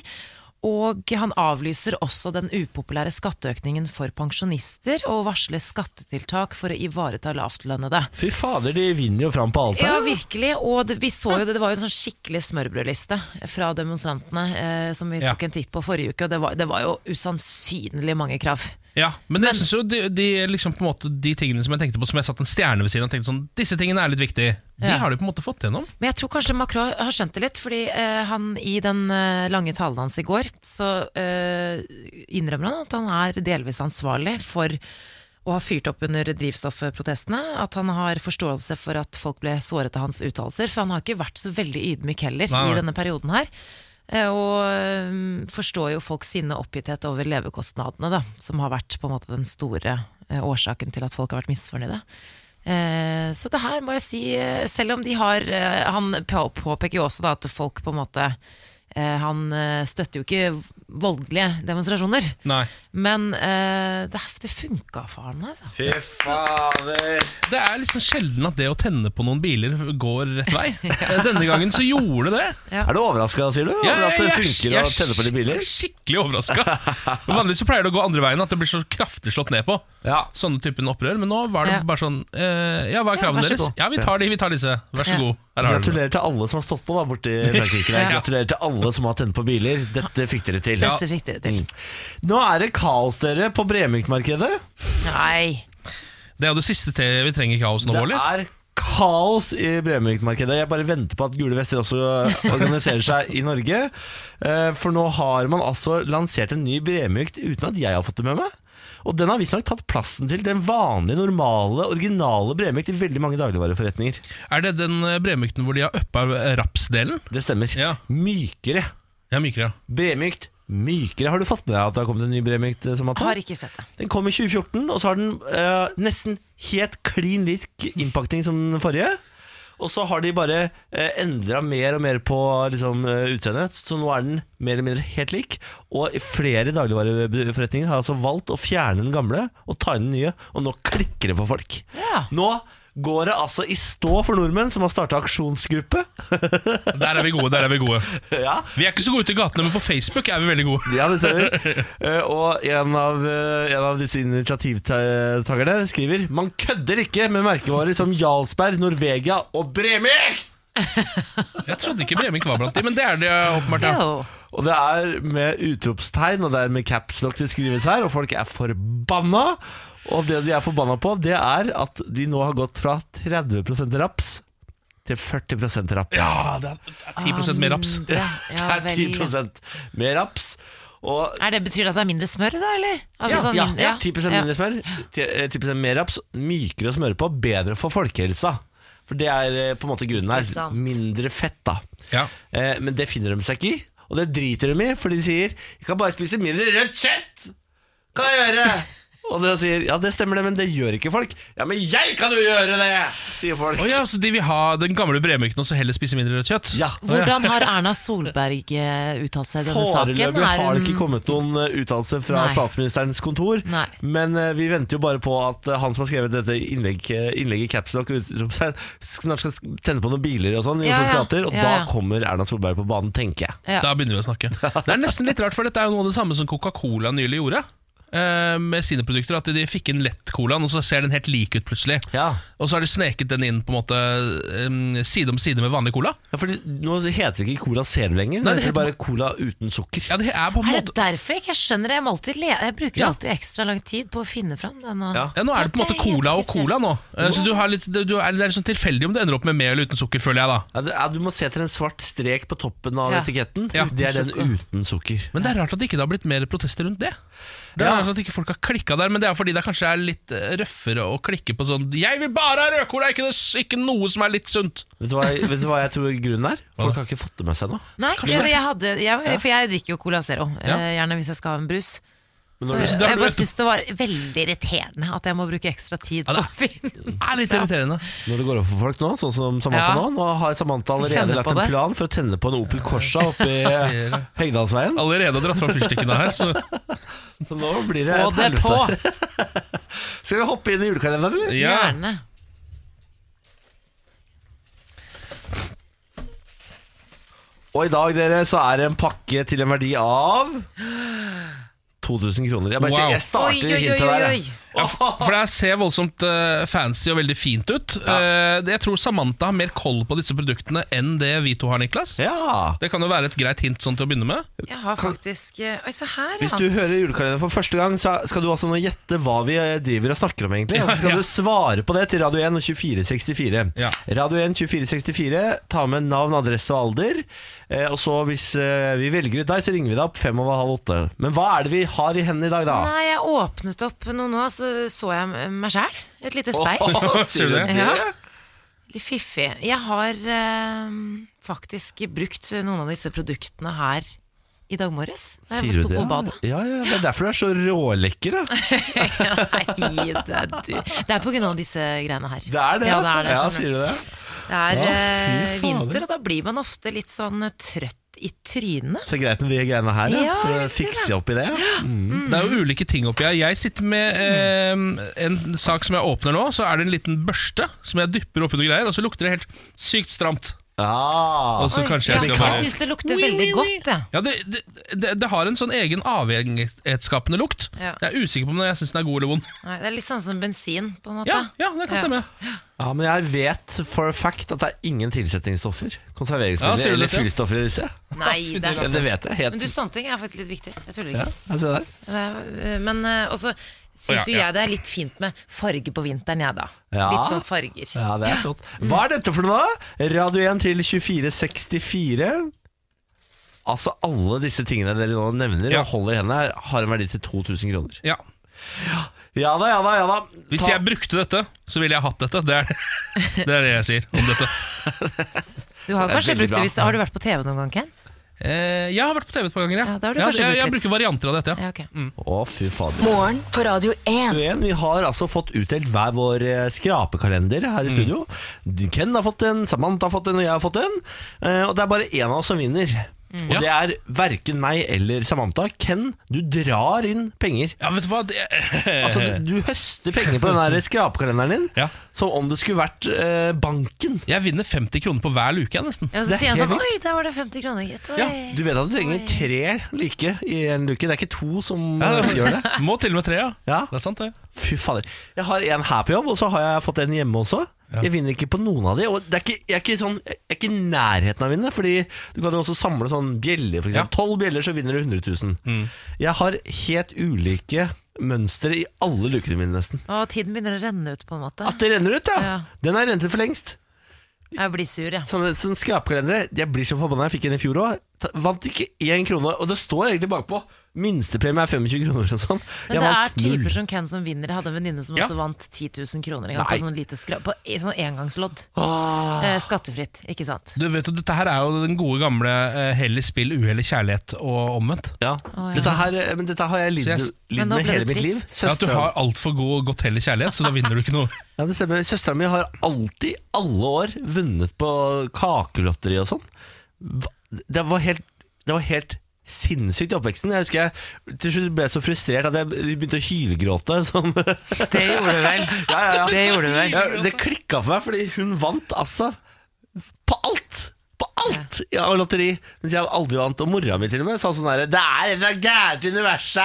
Speaker 2: Og han avlyser også den upopulære skatteøkningen for pensjonister, og varsler skattetiltak for å ivareta lavtlønnede.
Speaker 1: Fy fader, de vinner jo fram på alt
Speaker 2: Ja,
Speaker 1: her.
Speaker 2: virkelig. Og det, vi så jo det, det var jo en sånn skikkelig smørbrødliste fra demonstrantene eh, som vi
Speaker 3: Ja.
Speaker 2: tok en titt på forrige uke, og det var, det var jo usannsynlig mange krav.
Speaker 3: Ja, men jeg synes jo de, de, liksom på en måte, de tingene som jeg tenkte på Som jeg satt en stjerne ved siden av og tenkte sånn Disse tingene er litt viktige De
Speaker 2: Ja.
Speaker 3: har de på en måte fått gjennom
Speaker 2: Men jeg tror kanskje Macron har skjønt det litt, fordi eh, han i den eh, lange talen hans i går, så eh, innrømmer han at han er delvis ansvarlig for å ha fyrt opp under drivstoffprotestene. At han har forståelse for at folk ble såret av hans uttalelser. For han har ikke vært så veldig ydmyk heller
Speaker 3: Nei, nei.
Speaker 2: i denne perioden her. eh, Og eh, forstår jo folks sinne og oppgitthet over levekostnadene, da, som har vært på en måte den store eh, årsaken til at folk har vært misfornøyde. Eh, Så det her må jeg si, eh, selv om de har eh, Han på- påpeker jo også da at folk på en måte eh, Han eh, støtter jo ikke voldelige demonstrasjoner.
Speaker 3: Nei
Speaker 2: Men eh, det, det funka for han, altså.
Speaker 1: Fy fader.
Speaker 3: Det er liksom sjelden at det å tenne på noen biler går rett vei Denne gangen så gjorde det
Speaker 1: Er du overraska, sier du? Over at det
Speaker 3: jeg-
Speaker 1: funker
Speaker 3: jeg-
Speaker 1: å tenne på de biler?
Speaker 3: Jeg er skikkelig overraska. Vanligvis så pleier det å gå andre veien, at det blir så kraftig slått ned på.
Speaker 1: Ja.
Speaker 3: Sånne typen opprør. Men nå var
Speaker 2: Ja.
Speaker 3: det bare sånn eh, Ja, hva er
Speaker 2: Ja,
Speaker 3: kravene
Speaker 2: vær så
Speaker 3: deres?
Speaker 2: god.
Speaker 3: Ja, vi tar de, vi tar disse. Vær så
Speaker 2: Ja.
Speaker 3: god. Her har du dem.
Speaker 1: Gratulerer til alle som har stått på da borti Frankrike. der.
Speaker 2: Ja.
Speaker 1: Gratulerer til alle som har tent på biler. Dette fikk dere til.
Speaker 2: Dette fikk de til.
Speaker 1: Mm. Nå er det kaos, dere, på Bremyk-markedet.
Speaker 2: Nei.
Speaker 3: Det er jo det siste til vi trenger kaos nå,
Speaker 1: Det
Speaker 3: Bårli.
Speaker 1: er kaos i Bremyk-markedet. Jeg bare venter på at Gule Vester også organiserer seg i Norge. Eh, For nå har man altså lansert en ny Bremyk uten at jeg har fått det med meg. Og den har visstnok tatt plassen til den vanlige, normale, originale Bremyk i veldig mange dagligvareforretninger.
Speaker 3: Er det den eh, bremykten hvor de har uppa eh, rapsdelen?
Speaker 1: Det stemmer.
Speaker 3: Ja.
Speaker 1: Mykere.
Speaker 3: Ja, mykere. ja.
Speaker 1: Bremykt. Mykere. Har du fått med deg at det har kommet en ny Bremykt? eh, Samantha?
Speaker 2: Har ikke sett det.
Speaker 1: Den kom i 2014, og så har den eh, nesten helt klin lik innpakning som den forrige. Og så har de bare uh, endra mer og mer på liksom, eh, utseendet, så nå er den mer eller mindre helt lik. Og flere dagligvareforretninger har altså valgt å fjerne den gamle og ta inn den nye, og nå klikker det for folk.
Speaker 2: Ja.
Speaker 1: Nå går det altså i stå for nordmenn som har starta aksjonsgruppe.
Speaker 3: Der er vi gode. der er Vi gode
Speaker 1: ja,
Speaker 3: Vi er ikke så gode ute i gatene, men på Facebook er vi veldig gode.
Speaker 1: Ja, det stemmer. Eh, og en av, eh, en av disse initiativtakerne skriver Man kødder ikke med merkevarer som Jarlsberg, Norvegia og Bremyk!
Speaker 3: Jeg trodde ikke Bremyk var blant de, men det er det eh, åpenbart. Ja.
Speaker 2: Jo.
Speaker 1: Og det er med utropstegn, og det er med capslock det skrives her, og folk er forbanna. Og det de er forbanna på, det er at de nå har gått fra 30 raps til 40 raps.
Speaker 3: Ja, det er- det er 10 mer raps.
Speaker 2: Ah, Ja, ja,
Speaker 1: det er 10
Speaker 2: vel.
Speaker 1: mer raps. Og
Speaker 2: Er det, betyr det at det er mindre smør, da, eller? Altså, sånn
Speaker 1: ja,
Speaker 2: min-
Speaker 1: ja, 10 mindre smør, 10 mer raps, mykere å smøre på, bedre for folkehelsa. For det er eh, på en måte grunnen
Speaker 2: Ikke
Speaker 1: her.
Speaker 2: sant.
Speaker 1: Mindre fett, da.
Speaker 3: Ja.
Speaker 1: Eh, men det finner de seg ikke i, og det driter de i, for de sier 'Jeg kan bare spise mindre rødt kjøtt'! Kan jeg gjøre? Og de sier 'Ja, det stemmer det, men det gjør ikke folk'. 'Ja, men jeg kan jo gjøre det', sier folk.
Speaker 3: Å ja, så de vil ha den gamle bremyken og så heller spise mindre rødt kjøtt?
Speaker 1: Ja.
Speaker 2: Hvordan har Erna Solberg eh, uttalt seg i denne saken?
Speaker 1: Foreløpig
Speaker 2: Er
Speaker 1: har det
Speaker 2: hun-
Speaker 1: ikke kommet noen eh, uttalelse fra
Speaker 2: Nei.
Speaker 1: statsministerens kontor.
Speaker 2: Nei.
Speaker 1: Men eh, vi venter jo bare på at eh, han som har skrevet dette innlegget innlegg i Capstock, snart skal tenne på noen biler og sånn i
Speaker 2: Ja,
Speaker 1: Oslos
Speaker 2: ja.
Speaker 1: gater. Og
Speaker 2: Ja, ja.
Speaker 1: da kommer Erna Solberg på banen, tenker jeg.
Speaker 2: Ja.
Speaker 3: Da begynner vi å snakke. Det er nesten litt rart, for dette er jo noe av det samme som Coca-Cola nylig gjorde. eh, Med sine produkter At de fikk inn lett-colaen, og så ser den helt lik ut plutselig.
Speaker 1: Ja.
Speaker 3: Og så har de sneket den inn på en måte eh, side om side med vanlig cola.
Speaker 1: Ja, fordi Nå heter det ikke Cola Zero lenger,
Speaker 3: Nei,
Speaker 1: nå
Speaker 3: det
Speaker 1: heter det bare Cola uten sukker.
Speaker 3: Ja, det er på en
Speaker 2: Er det
Speaker 3: måte
Speaker 2: derfor jeg ikke skjønner det? Jeg, må alltid le jeg bruker
Speaker 3: Ja.
Speaker 2: alltid ekstra lang tid på å finne fram den. Og...
Speaker 1: Ja.
Speaker 3: ja, Nå er det på en måte cola og cola nå. Eh, Så du har litt, du du er, Det er litt sånn tilfeldig om du ender opp med med eller uten sukker, føler jeg da.
Speaker 1: Ja, det, ja, du må se etter en svart strek på toppen av
Speaker 2: Ja.
Speaker 1: etiketten.
Speaker 3: Ja.
Speaker 1: Det er den uten sukker.
Speaker 3: Men det er rart at det ikke har blitt mer protester rundt det. Det
Speaker 1: Ja.
Speaker 3: er rart at ikke folk har klikka der, men det er fordi det kanskje er litt eh, røffere å klikke på sånn 'Jeg vil bare ha rødcola, ikke, det- ikke noe som er litt sunt'.
Speaker 1: Vet du, hva, vet du hva jeg tror grunnen er? Folk har ikke fått det med seg nå.
Speaker 2: Nei, jeg, jeg hadde, jeg, for jeg drikker jo Cola Zero,
Speaker 3: Ja.
Speaker 2: eh, gjerne hvis jeg skal ha en brus. Så,
Speaker 3: når du-
Speaker 2: jeg
Speaker 3: Da-
Speaker 2: bare syns det var veldig irriterende at jeg må bruke ekstra tid
Speaker 3: Ja,
Speaker 2: på
Speaker 3: da.
Speaker 2: å finne
Speaker 3: Det er litt irriterende.
Speaker 1: Når det går opp for folk nå, sånn som Samantha
Speaker 2: Ja.
Speaker 1: nå Nå har Samantha allerede
Speaker 2: Kjenner
Speaker 1: lagt
Speaker 2: på
Speaker 1: en
Speaker 2: det.
Speaker 1: plan for å tenne på en Opel Corsa oppe i Hegdalsveien.
Speaker 3: Allerede har dratt fram fyrstikkene her. Så.
Speaker 1: Så nå blir det
Speaker 2: Få
Speaker 1: et
Speaker 2: det på!
Speaker 1: helvete. Skal vi hoppe inn i julekalenderen, eller?
Speaker 3: Ja.
Speaker 2: Gjerne.
Speaker 1: Og i dag dere, så er det en pakke til en verdi av 2000 kroner. Jeg, bare,
Speaker 3: Wow.
Speaker 1: sier- jeg starter hintet der. jeg.
Speaker 3: Ja, f- for det her ser voldsomt eh, fancy og veldig fint ut. Eh, jeg tror Samantha har mer koll på disse produktene enn det vi to har, Niklas.
Speaker 1: Ja.
Speaker 3: Det kan jo være et greit hint sånn til å begynne med.
Speaker 2: Jeg har faktisk eh, Oi, se her,
Speaker 1: Hvis
Speaker 2: ja.
Speaker 1: du hører julekalenderen for første gang, så skal du altså nå gjette hva vi eh, driver og snakker om, egentlig. Og så skal
Speaker 3: Ja, ja.
Speaker 1: du svare på det til Radio 1 og 2464.
Speaker 3: Ja.
Speaker 1: Radio 1 2464, ta med navn, adresse og alder. Eh, og så hvis eh, vi velger ut deg, så ringer vi deg opp fem over halv åtte. Men hva er det vi har i hendene i dag, da?
Speaker 2: Nei, jeg åpnet opp noe nå, så så jeg meg sjæl. Et lite speil.
Speaker 1: Åh,
Speaker 3: Sier du det?
Speaker 2: Ja. Litt fiffig. Jeg har eh, faktisk brukt noen av disse produktene her i dag morges. Da jeg
Speaker 1: Sier du
Speaker 2: sto
Speaker 1: det?
Speaker 2: på badet.
Speaker 1: Ja, ja, det er derfor du er så rålekker. Da.
Speaker 2: Nei, det er du. Det er på grunn av disse greiene her.
Speaker 1: Det er det.
Speaker 2: Ja, det er det.
Speaker 1: ja,
Speaker 2: skjønner du.
Speaker 1: sier du det?
Speaker 2: Det er
Speaker 1: Ja, fy
Speaker 2: eh,
Speaker 1: fader.
Speaker 2: vinter, og da blir man ofte litt sånn eh, trøtt i trynet.
Speaker 1: Så greit med de greiene her, ja.
Speaker 2: Ja,
Speaker 1: For å
Speaker 2: jeg sier
Speaker 1: fikse
Speaker 2: det.
Speaker 1: opp i det. Ja.
Speaker 3: Det er jo ulike ting oppi her. Jeg sitter med
Speaker 2: Mm.
Speaker 3: eh, en sak som jeg åpner nå. Så er det en liten børste som jeg dypper oppi noe greier, og så lukter det helt sykt stramt.
Speaker 1: Ah.
Speaker 3: Og så kanskje jeg
Speaker 2: jeg
Speaker 3: skal bare
Speaker 2: syns det lukter veldig godt, jeg.
Speaker 3: ja, det, det, det, det har en sånn egen avhengighetsskapende lukt.
Speaker 2: Ja.
Speaker 3: Jeg er usikker på om jeg syns den er god eller vond.
Speaker 2: Nei, Det er litt sånn som bensin, på en måte.
Speaker 3: Ja, ja, det kan
Speaker 2: Ja.
Speaker 3: stemme.
Speaker 1: Ja, men jeg vet for a fact at det er ingen tilsetningsstoffer.
Speaker 3: Ja,
Speaker 1: Konserveringsmidler
Speaker 3: sier du
Speaker 1: eller
Speaker 3: det, ja?
Speaker 1: fyllstoffer i disse.
Speaker 2: Nei, det
Speaker 1: Ja,
Speaker 2: er
Speaker 1: det vet jeg. Helt.
Speaker 2: Men du, sånne ting er faktisk litt viktig. Jeg tuller
Speaker 1: ja,
Speaker 2: ikke.
Speaker 1: jeg ser der.
Speaker 2: Det er- eh, Men eh, også
Speaker 3: Å, ja,
Speaker 2: syns jo
Speaker 3: ja.
Speaker 2: jeg det er litt fint med farge på vinteren, jeg, da.
Speaker 1: Ja.
Speaker 2: Litt sånn farger.
Speaker 1: Ja, det er flott. Hva er dette for noe, da? Radio 1 til 2464. Altså, alle disse tingene dere nå nevner
Speaker 3: Ja.
Speaker 1: og holder i hendene, her, har en verdi til 2000 kroner.
Speaker 3: Ja.
Speaker 1: Ja da, ja da, ja da.
Speaker 3: Hvis
Speaker 1: Ta-
Speaker 3: jeg brukte dette, så ville jeg hatt dette. Det er det, det, er det jeg sier om dette.
Speaker 2: Du har
Speaker 1: Det er
Speaker 2: kanskje
Speaker 1: veldig
Speaker 2: brukt
Speaker 1: bra.
Speaker 2: det hvis Har du vært på TV noen gang, Ken?
Speaker 3: Eh, jeg har vært på TV et par ganger,
Speaker 2: Ja, da har du kanskje
Speaker 3: jeg,
Speaker 2: brukt
Speaker 3: jeg
Speaker 2: litt.
Speaker 3: bruker varianter av dette. Ja.
Speaker 2: Ja, ok.
Speaker 1: Å, fy fader.
Speaker 4: Morgen på Radio 1.
Speaker 1: Vi har altså fått utdelt hver vår eh, skrapekalender her i studio. Ken har fått en, Samantha har fått en, og jeg har fått en. Eh, Og det er bare én av oss som vinner. Og
Speaker 3: Ja.
Speaker 1: det er verken meg eller Samantha. Ken, du drar inn penger.
Speaker 3: Ja, vet du hva det,
Speaker 1: Altså, du, du høster penger på den der skrapekalenderen din
Speaker 3: Ja.
Speaker 1: som om det skulle vært eh, banken.
Speaker 3: Jeg vinner 50 kroner på hver luke, jeg, nesten.
Speaker 2: Ja,
Speaker 1: Det
Speaker 2: så
Speaker 1: er
Speaker 2: sier han
Speaker 1: helt
Speaker 2: sånn Oi, der var det 50 kroner, gitt. Oi.
Speaker 3: Ja,
Speaker 1: Du vet at du trenger
Speaker 2: Oi.
Speaker 1: tre like i en luke. Det er ikke to som eh, gjør det.
Speaker 3: Må til og med tre, ja.
Speaker 1: Ja.
Speaker 3: Det er sant, det.
Speaker 1: Fy fader. Jeg har en her på jobb, og så har jeg fått en hjemme også. Jeg vinner ikke på noen av de. Og det er ikke, jeg, er ikke sånn, jeg er ikke i nærheten av å vinne, Fordi du kan jo også samle sånn bjeller, f.eks.
Speaker 3: Ja.
Speaker 1: Tolv bjeller, så vinner du 100 000. Jeg har helt ulike mønstre i alle lukene mine, nesten.
Speaker 2: Og tiden begynner å renne ut, på en måte.
Speaker 1: At det renner ut, ja!
Speaker 2: Ja.
Speaker 1: Den er rent ut for lengst.
Speaker 2: Jeg blir sur, jeg.
Speaker 1: Sånne, sånne skrapkalendere. Jeg blir så forbanna. Jeg fikk en i fjor òg. Vant ikke én krone. Og det står egentlig bakpå. Minstepremie er 25 kroner eller noe sånt.
Speaker 2: Men
Speaker 1: Jeg
Speaker 2: det er
Speaker 1: vant null.
Speaker 2: typer som Ken som vinner. Jeg hadde en venninne som
Speaker 3: Ja.
Speaker 2: også vant 10 000 kroner en gang
Speaker 1: Nei.
Speaker 2: på sånn lite skra- På e- sånn engangslodd.
Speaker 1: Åh.
Speaker 2: Eh, skattefritt, ikke sant.
Speaker 3: Du vet jo, Dette her er jo den gode gamle eh, hell i spill, uhell i kjærlighet og omvendt.
Speaker 1: Ja.
Speaker 2: ja.
Speaker 1: Dette, her, eh, men dette har jeg lidd
Speaker 3: Så jeg-
Speaker 1: lidd
Speaker 2: Men nå
Speaker 1: med
Speaker 2: ble
Speaker 1: hele
Speaker 2: det
Speaker 1: mitt liv.
Speaker 2: trist.
Speaker 3: Ja, at du
Speaker 1: Søsteren,
Speaker 3: har altfor godt hell i kjærlighet, så da vinner du ikke noe.
Speaker 1: ja, det stemmer. Søsteren min har alltid, alle år, vunnet på kakelotteri og sånn. Hva- Det var helt, det var helt sinnssykt i oppveksten. Jeg husker jeg til slutt ble jeg så frustrert at jeg begynte å hylgråte. Som,
Speaker 2: Det gjorde du vel.
Speaker 1: ja, ja, ja.
Speaker 2: Det gjorde du vel.
Speaker 1: Ja, det klikka for meg, fordi hun vant altså på alt! På alt! Ja, og lotteri. Mens jeg aldri vant. Og mora mi til og med sa sånn herre Det er et eller annet gærent i universet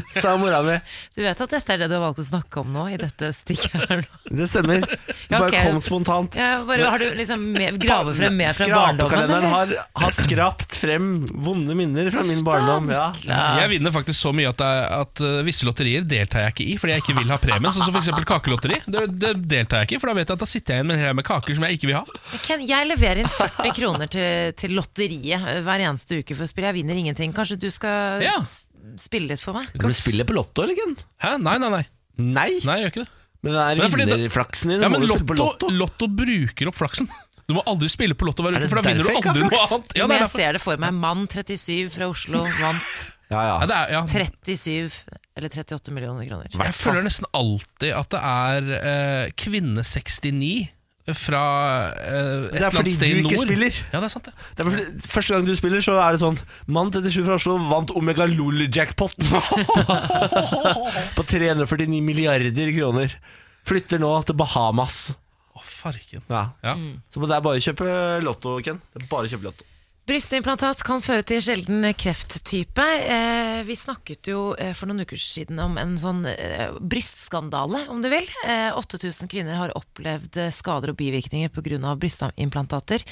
Speaker 1: her! Sa mora mi.
Speaker 2: Du vet at dette er det du har valgt å snakke om nå, i dette stikket her nå.
Speaker 1: Det stemmer. Det
Speaker 2: Ja,
Speaker 1: bare
Speaker 2: ok.
Speaker 1: kom spontant.
Speaker 2: Ja, bare, har du liksom med, gravet frem mer fra barndommen?
Speaker 1: Skrapekalenderen
Speaker 2: eller?
Speaker 1: har, har skrapt frem vonde minner fra min barndom. Ja.
Speaker 3: Jeg vinner faktisk så mye at, jeg, at eh, visse lotterier deltar jeg ikke i fordi jeg ikke vil ha premien. Sånn som f.eks. kakelotteri. Det, det deltar jeg ikke i, for da vet jeg at da sitter jeg igjen med en hel haug med kaker som jeg ikke vil ha.
Speaker 2: Ken, jeg leverer inn 40 kroner til, til lotteriet eh, hver eneste uke for å spille. Jeg vinner ingenting. Kanskje du skal
Speaker 3: Ja.
Speaker 2: s- spille litt for meg?
Speaker 1: Kan du spille på Lotto, eller Ken?
Speaker 3: Hæ? Nei, nei, nei.
Speaker 1: Nei.
Speaker 3: Nei, jeg gjør ikke det.
Speaker 1: Men den
Speaker 3: Men det er
Speaker 1: er
Speaker 3: fordi det-
Speaker 1: vinnerflaksen din.
Speaker 3: Ja,
Speaker 1: Ja,
Speaker 3: men
Speaker 1: må du spille
Speaker 3: lotto,
Speaker 1: på Lotto?
Speaker 3: lotto. bruker opp flaksen. Du må aldri spille på lotto hver
Speaker 1: Er
Speaker 3: uke,
Speaker 1: det
Speaker 3: for da vinner du
Speaker 1: derfor jeg ikke
Speaker 3: aldri
Speaker 1: har
Speaker 3: noe
Speaker 1: flaks?
Speaker 3: annet. Ja,
Speaker 2: Men
Speaker 3: det er
Speaker 2: jeg
Speaker 3: derfor.
Speaker 2: ser det for meg. Mann 37 fra Oslo vant
Speaker 1: Ja,
Speaker 3: Ja,
Speaker 1: ja.
Speaker 3: det er, ja.
Speaker 2: 37 eller 38 millioner kroner.
Speaker 3: Jeg føler nesten alltid at det er eh, kvinne 69 fra eh, et
Speaker 1: er
Speaker 3: eller
Speaker 1: fordi
Speaker 3: annet sted i
Speaker 1: du
Speaker 3: nord.
Speaker 1: ikke spiller.
Speaker 3: Ja, det er sant, det.
Speaker 1: Det er fordi- Første gang du spiller, så er det sånn Mann 37 fra Oslo vant Omega Lol-jackpot på 349 milliarder kroner. Flytter nå til Bahamas.
Speaker 3: Å, farken.
Speaker 1: Ja.
Speaker 3: Ja. Mm.
Speaker 1: Så det er bare å kjøpe Lotto, Ken. Det er bare å kjøpe Lotto.
Speaker 2: Brystimplantat kan føre til sjelden krefttype. Eh, vi snakket jo eh, for noen uker siden om en sånn eh, brystskandale, om du vil. Eh, 8000 kvinner har opplevd eh, skader og bivirkninger pga. brystimplantater.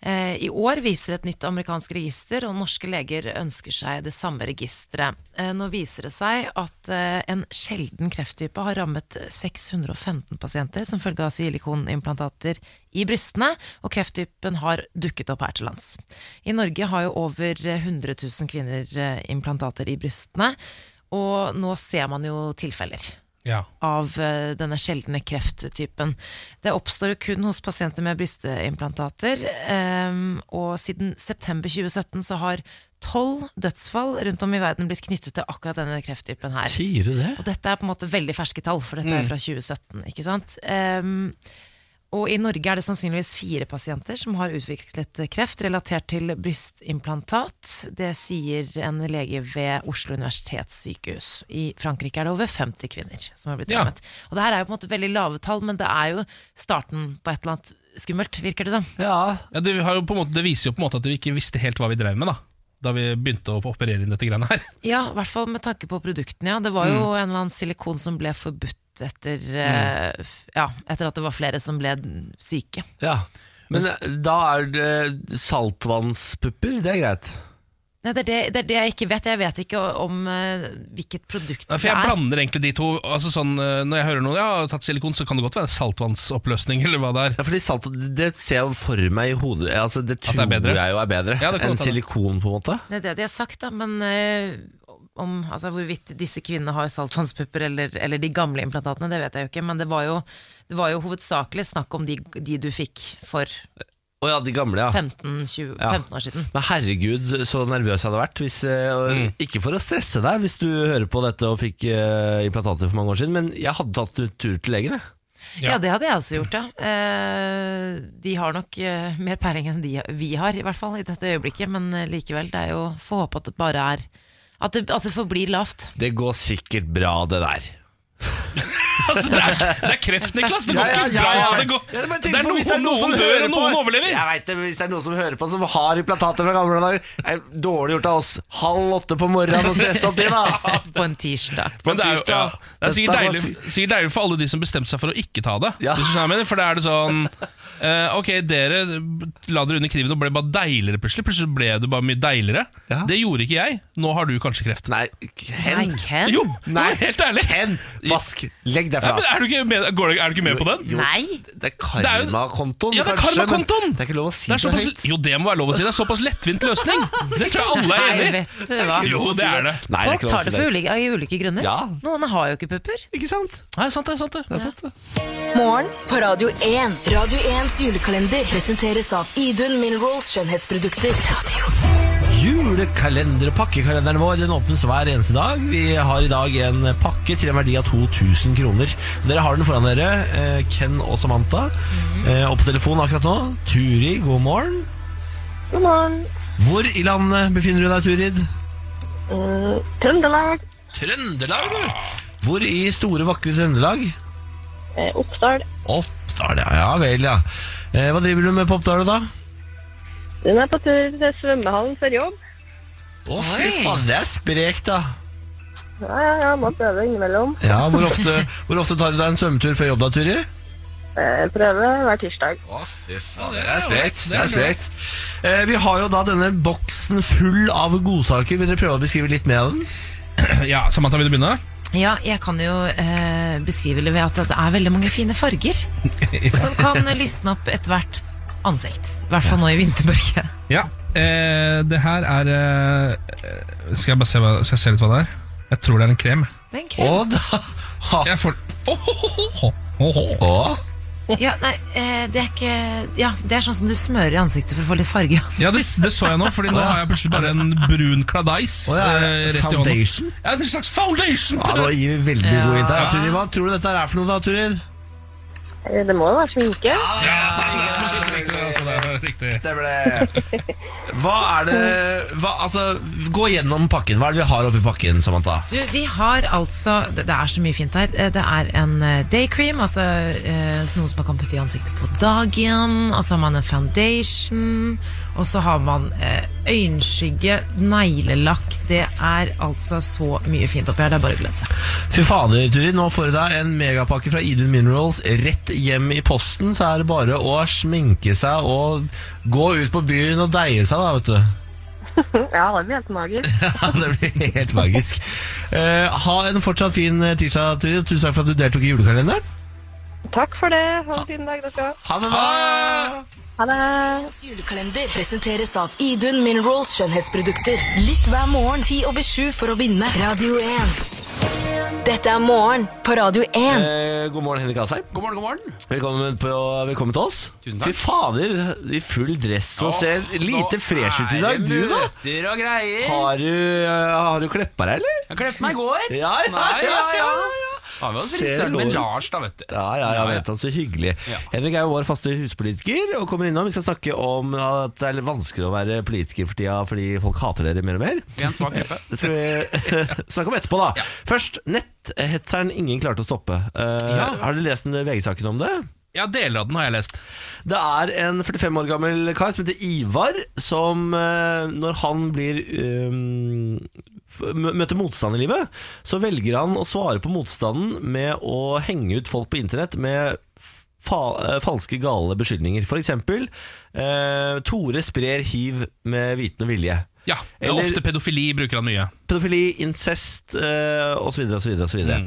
Speaker 2: Eh, I år viser et nytt amerikansk register, og norske leger ønsker seg det samme registeret. Eh, nå viser det seg at eh, en sjelden krefttype har rammet 615 pasienter som følge av silikonimplantater i brystene, og krefttypen har dukket opp her til lands. I Norge har jo over 100 000 kvinner eh, implantater i brystene, og nå ser man jo tilfeller
Speaker 3: Ja.
Speaker 2: av eh, denne sjeldne krefttypen. Det oppstår jo kun hos pasienter med brystimplantater, ehm, og siden september 2017 så har tolv dødsfall rundt om i verden blitt knyttet til akkurat denne krefttypen her.
Speaker 1: Sier du det?
Speaker 2: Og dette er på en måte veldig ferske tall, for dette er fra 2017, ikke sant? Ehm, og i Norge er det sannsynligvis fire pasienter som har utviklet kreft relatert til brystimplantat. Det sier en lege ved Oslo universitetssykehus. I Frankrike er det over 50 kvinner som har blitt
Speaker 3: Ja.
Speaker 2: rammet. Og det her er jo på en måte veldig lave tall, men det er jo starten på et eller annet skummelt, virker det som.
Speaker 1: Ja,
Speaker 3: Ja, det, har jo på en måte, det viser jo på en måte at vi ikke visste helt hva vi drev med da Da vi begynte å operere inn dette greiene her
Speaker 2: Ja, i hvert fall med tanke på produktene. Ja. Det var jo en eller annen silikon som ble forbudt etter, eh, f- ja, etter at det var flere som ble syke.
Speaker 1: ja. Men eh, da er det saltvannspupper, det er greit.
Speaker 2: Nei, det, er det, det er det jeg ikke vet. Jeg vet ikke om eh, hvilket produkt
Speaker 3: Nei,
Speaker 2: det
Speaker 3: For jeg
Speaker 2: er.
Speaker 3: blander egentlig de to altså sånn, eh, Når jeg hører noen ja, har tatt silikon Så kan det godt være saltvannsoppløsning eller hva det er
Speaker 1: Ja, fordi salt, Det ser jeg for meg i hodet altså, Det
Speaker 3: det er
Speaker 1: tror
Speaker 3: bedre.
Speaker 1: jeg jo er bedre
Speaker 3: Ja, det kan
Speaker 1: enn
Speaker 3: godt hende.
Speaker 1: silikon, på en måte.
Speaker 2: Det er det de har sagt, da. Men eh, om altså, hvorvidt disse kvinnene har saltvannspupper eller, eller de gamle implantatene, det vet jeg jo ikke. Men det var jo, det var jo hovedsakelig snakk om de, de du fikk for
Speaker 1: Å ja, de gamle, ja.
Speaker 2: 15, 20,
Speaker 1: Ja.
Speaker 2: 15 år siden.
Speaker 1: Men herregud, så nervøs jeg hadde vært. Hvis, eh, og
Speaker 3: Mm.
Speaker 1: Ikke for å stresse deg hvis du hører på dette og fikk eh, implantater for mange år siden, men jeg hadde tatt en tur til legen. jeg.
Speaker 3: Ja.
Speaker 2: Ja, det hadde jeg også gjort, ja. Eh, de har nok eh, mer peiling enn de, vi har, i hvert fall i dette øyeblikket. Men eh, likevel, det er jo Få håpe at det bare er At det, at det forblir lavt.
Speaker 1: Det går sikkert bra, det der.
Speaker 3: altså, det, er, det er kreft, Niklas Det
Speaker 1: Ja,
Speaker 3: går
Speaker 1: ja,
Speaker 3: ikke
Speaker 1: ja,
Speaker 3: bra
Speaker 1: ja.
Speaker 3: Det, går,
Speaker 1: Ja, men
Speaker 3: det
Speaker 1: tenk
Speaker 3: er
Speaker 1: på
Speaker 3: noen,
Speaker 1: hvis
Speaker 3: noen,
Speaker 1: som hører
Speaker 3: dør og noen
Speaker 1: på.
Speaker 3: overlever
Speaker 1: Jeg vet det, men Hvis det er noen som hører på som har implantater fra gamle dager, er det dårlig gjort av oss halv åtte på morgenen å stresse opp til, da.
Speaker 2: På en tirsdag.
Speaker 1: På
Speaker 3: Men det er, jo, ja,
Speaker 1: tirsdag.
Speaker 3: det er sikkert,
Speaker 1: Dette var
Speaker 3: deilig,
Speaker 1: si-
Speaker 3: sikkert deilig for alle de som bestemte seg for å ikke ta det.
Speaker 1: Ja.
Speaker 3: Hvis du skjønner hva jeg mener, for da er det sånn eh, Ok, dere la dere under kniven og ble bare deiligere plutselig. Plutselig ble du bare mye deiligere.
Speaker 1: Ja.
Speaker 3: Det gjorde ikke jeg. Nå har du kanskje kreft.
Speaker 1: Nei,
Speaker 2: Nei,
Speaker 1: hen,
Speaker 2: Ken?
Speaker 3: Jo, men helt ærlig.
Speaker 1: hen, vask, legg deg
Speaker 3: Ja, men
Speaker 1: fra.
Speaker 3: er, du ikke med, går, du- er du ikke med på den?
Speaker 2: Nei!
Speaker 1: Det er
Speaker 3: er jo-
Speaker 1: karmakontoen,
Speaker 3: Ja, det er
Speaker 1: kanskje, men
Speaker 3: karmakontoen!
Speaker 1: Det er ikke lov å si
Speaker 3: Det er
Speaker 1: det
Speaker 3: såpass,
Speaker 1: høyt.
Speaker 3: jo, det må være lov å si. Det er såpass lettvint løsning. Det tror jeg alle er
Speaker 2: Nei,
Speaker 3: enig i.
Speaker 2: vet du hva.
Speaker 3: Jo, det er det.
Speaker 1: Nei,
Speaker 2: Folk
Speaker 1: ikke lov å
Speaker 2: tar
Speaker 1: si
Speaker 2: det for ulike, av ulike grunner.
Speaker 1: Ja.
Speaker 2: Noen har jo ikke pupper.
Speaker 1: Ikke sant?
Speaker 3: Nei, sant det, sant det.
Speaker 4: Morgen på Radio 1. Radio 1s julekalender presenteres av Idun Minerals skjønnhetsprodukter. Radio
Speaker 1: Julekalender, pakkekalenderen vår, den åpnes hver eneste dag. Vi har i dag en pakke til en verdi av 2000 kroner. Dere har den foran dere, eh, Ken og Samantha. Eh, Og på telefonen akkurat nå, Turi, god morgen.
Speaker 5: God morgen.
Speaker 1: Hvor i landet befinner du deg, Turid?
Speaker 5: Eh, Trøndelag.
Speaker 1: Trøndelag, du! Hvor i store, vakre Trøndelag?
Speaker 5: eh, Oppdal.
Speaker 1: Oppdal, ja. Ja vel, ja. Eh, Hva driver du med på Oppdal, da?
Speaker 5: Hun er på tur til svømmehallen før jobb.
Speaker 1: Å, fy faen, det er sprekt, da.
Speaker 5: Ja, ja, ja, må prøve innimellom.
Speaker 1: Ja, hvor ofte, hvor ofte tar du deg en svømmetur før jobb, da, Turi?
Speaker 5: Eh, Prøve hver tirsdag.
Speaker 1: Å, fy faen, det er sprekt. Det er sprekt. Eh, vi har jo da denne boksen full av godsaker. Vil dere prøve å beskrive litt mer av den?
Speaker 3: Ja, Samantha, vil du begynne?
Speaker 2: Ja, jeg kan jo eh, beskrive det ved at det er veldig mange fine farger som kan lysne opp ethvert ansikt. I hvert fall nå i vintermørket.
Speaker 3: Ja, eh, det her er eh, Skal jeg bare se, hva, skal jeg se litt hva det er? Jeg tror det er en krem.
Speaker 2: Det er en krem.
Speaker 1: Og da ha.
Speaker 3: Jeg får Åhåhåhå.
Speaker 1: Å,
Speaker 2: Ja, nei, eh, det er ikke Ja, det er sånn som du smører i ansiktet for å få litt farge.
Speaker 3: Ja, det, det så jeg nå, Fordi nå har jeg plutselig bare en brun kladeis.
Speaker 1: Å, ja,
Speaker 3: eh, rett i hånden.
Speaker 1: foundation?
Speaker 3: Ja, en slags foundation!
Speaker 1: Ja, nå gir vi veldig
Speaker 2: Ja.
Speaker 1: god inntak. Ja, Turid, hva tror du dette her er for noe, da, Turid?
Speaker 5: Eh, Det må jo være sminke.
Speaker 3: Riktig.
Speaker 1: Det ble Hva er det hva, Altså, gå gjennom pakken. Hva er det vi har oppi pakken, Samantha?
Speaker 2: Du, vi har altså Det det er så mye fint her. Eh, Det er en eh, daycream, altså eh, noe som man kan putte i ansiktet på dagen. Og så har man en foundation. Og så har man eh, øyenskygge, neglelakk. Det er altså så mye fint oppi her. Det er bare å glede seg.
Speaker 1: Fy fader, Turid. Nå får du deg en megapakke fra Idun Minerals rett hjem i posten. Så er det bare å sminke seg og gå ut på byen og deie seg, da, vet du.
Speaker 5: Ja, det blir helt magisk.
Speaker 1: Ja, det blir helt magisk. Eh, ha en fortsatt fin eh, tirsdag, Turid. og Tusen takk for at du deltok i julekalenderen.
Speaker 5: Takk for det. Ha en fin dag, dere.
Speaker 1: Ha det bra!
Speaker 5: Ha det.
Speaker 4: Årets julekalender presenteres av Idun Minerals skjønnhetsprodukter. Litt hver morgen, ti over sju for å vinne. Radio 1. Dette er morgen på Radio 1.
Speaker 1: Eh, god morgen, Henrik Asheim.
Speaker 6: God morgen, god morgen.
Speaker 1: Velkommen, på, velkommen til oss.
Speaker 6: Tusen takk.
Speaker 1: Fy fader, i full dress og ser lite fresh ut i dag. Du, da?
Speaker 6: Møter og greier.
Speaker 1: Har du, eh, har du kleppa deg, eller?
Speaker 6: Jeg klepte meg i går.
Speaker 1: Ja, ja, ja. ja, ja.
Speaker 6: Har vi jo
Speaker 1: Ser
Speaker 6: frisøren
Speaker 1: god
Speaker 6: med
Speaker 1: ut.
Speaker 6: Lars, da, vet du.
Speaker 1: Ja, ja, ja, vet om, så hyggelig Henrik er jo vår faste huspolitiker Og kommer innom, vi skal snakke om at det er litt vanskelig å være politiker for tida Fordi folk hater dere mer og mer
Speaker 6: Vi er en svak gruppe.
Speaker 1: Det skal vi snakke om etterpå da Først, netthetseren ingen klarte å stoppe Eh,
Speaker 3: Ja.
Speaker 1: Har du lest den VG-saken om det?
Speaker 3: Ja, deler av den har jeg lest.
Speaker 1: Det er en 45 år gammel kar som heter Ivar, som eh, når han blir um, f- mø- møter motstand i livet, så velger han å svare på motstanden med å henge ut folk på internett med fa eh, falske, gale beskyldninger. For eksempel eh, Tore sprer hiv med viten og vilje.
Speaker 3: Ja, men
Speaker 1: Eller-
Speaker 3: Ofte pedofili bruker han mye.
Speaker 1: Pedofili, incest eh, osv. osv. Mm.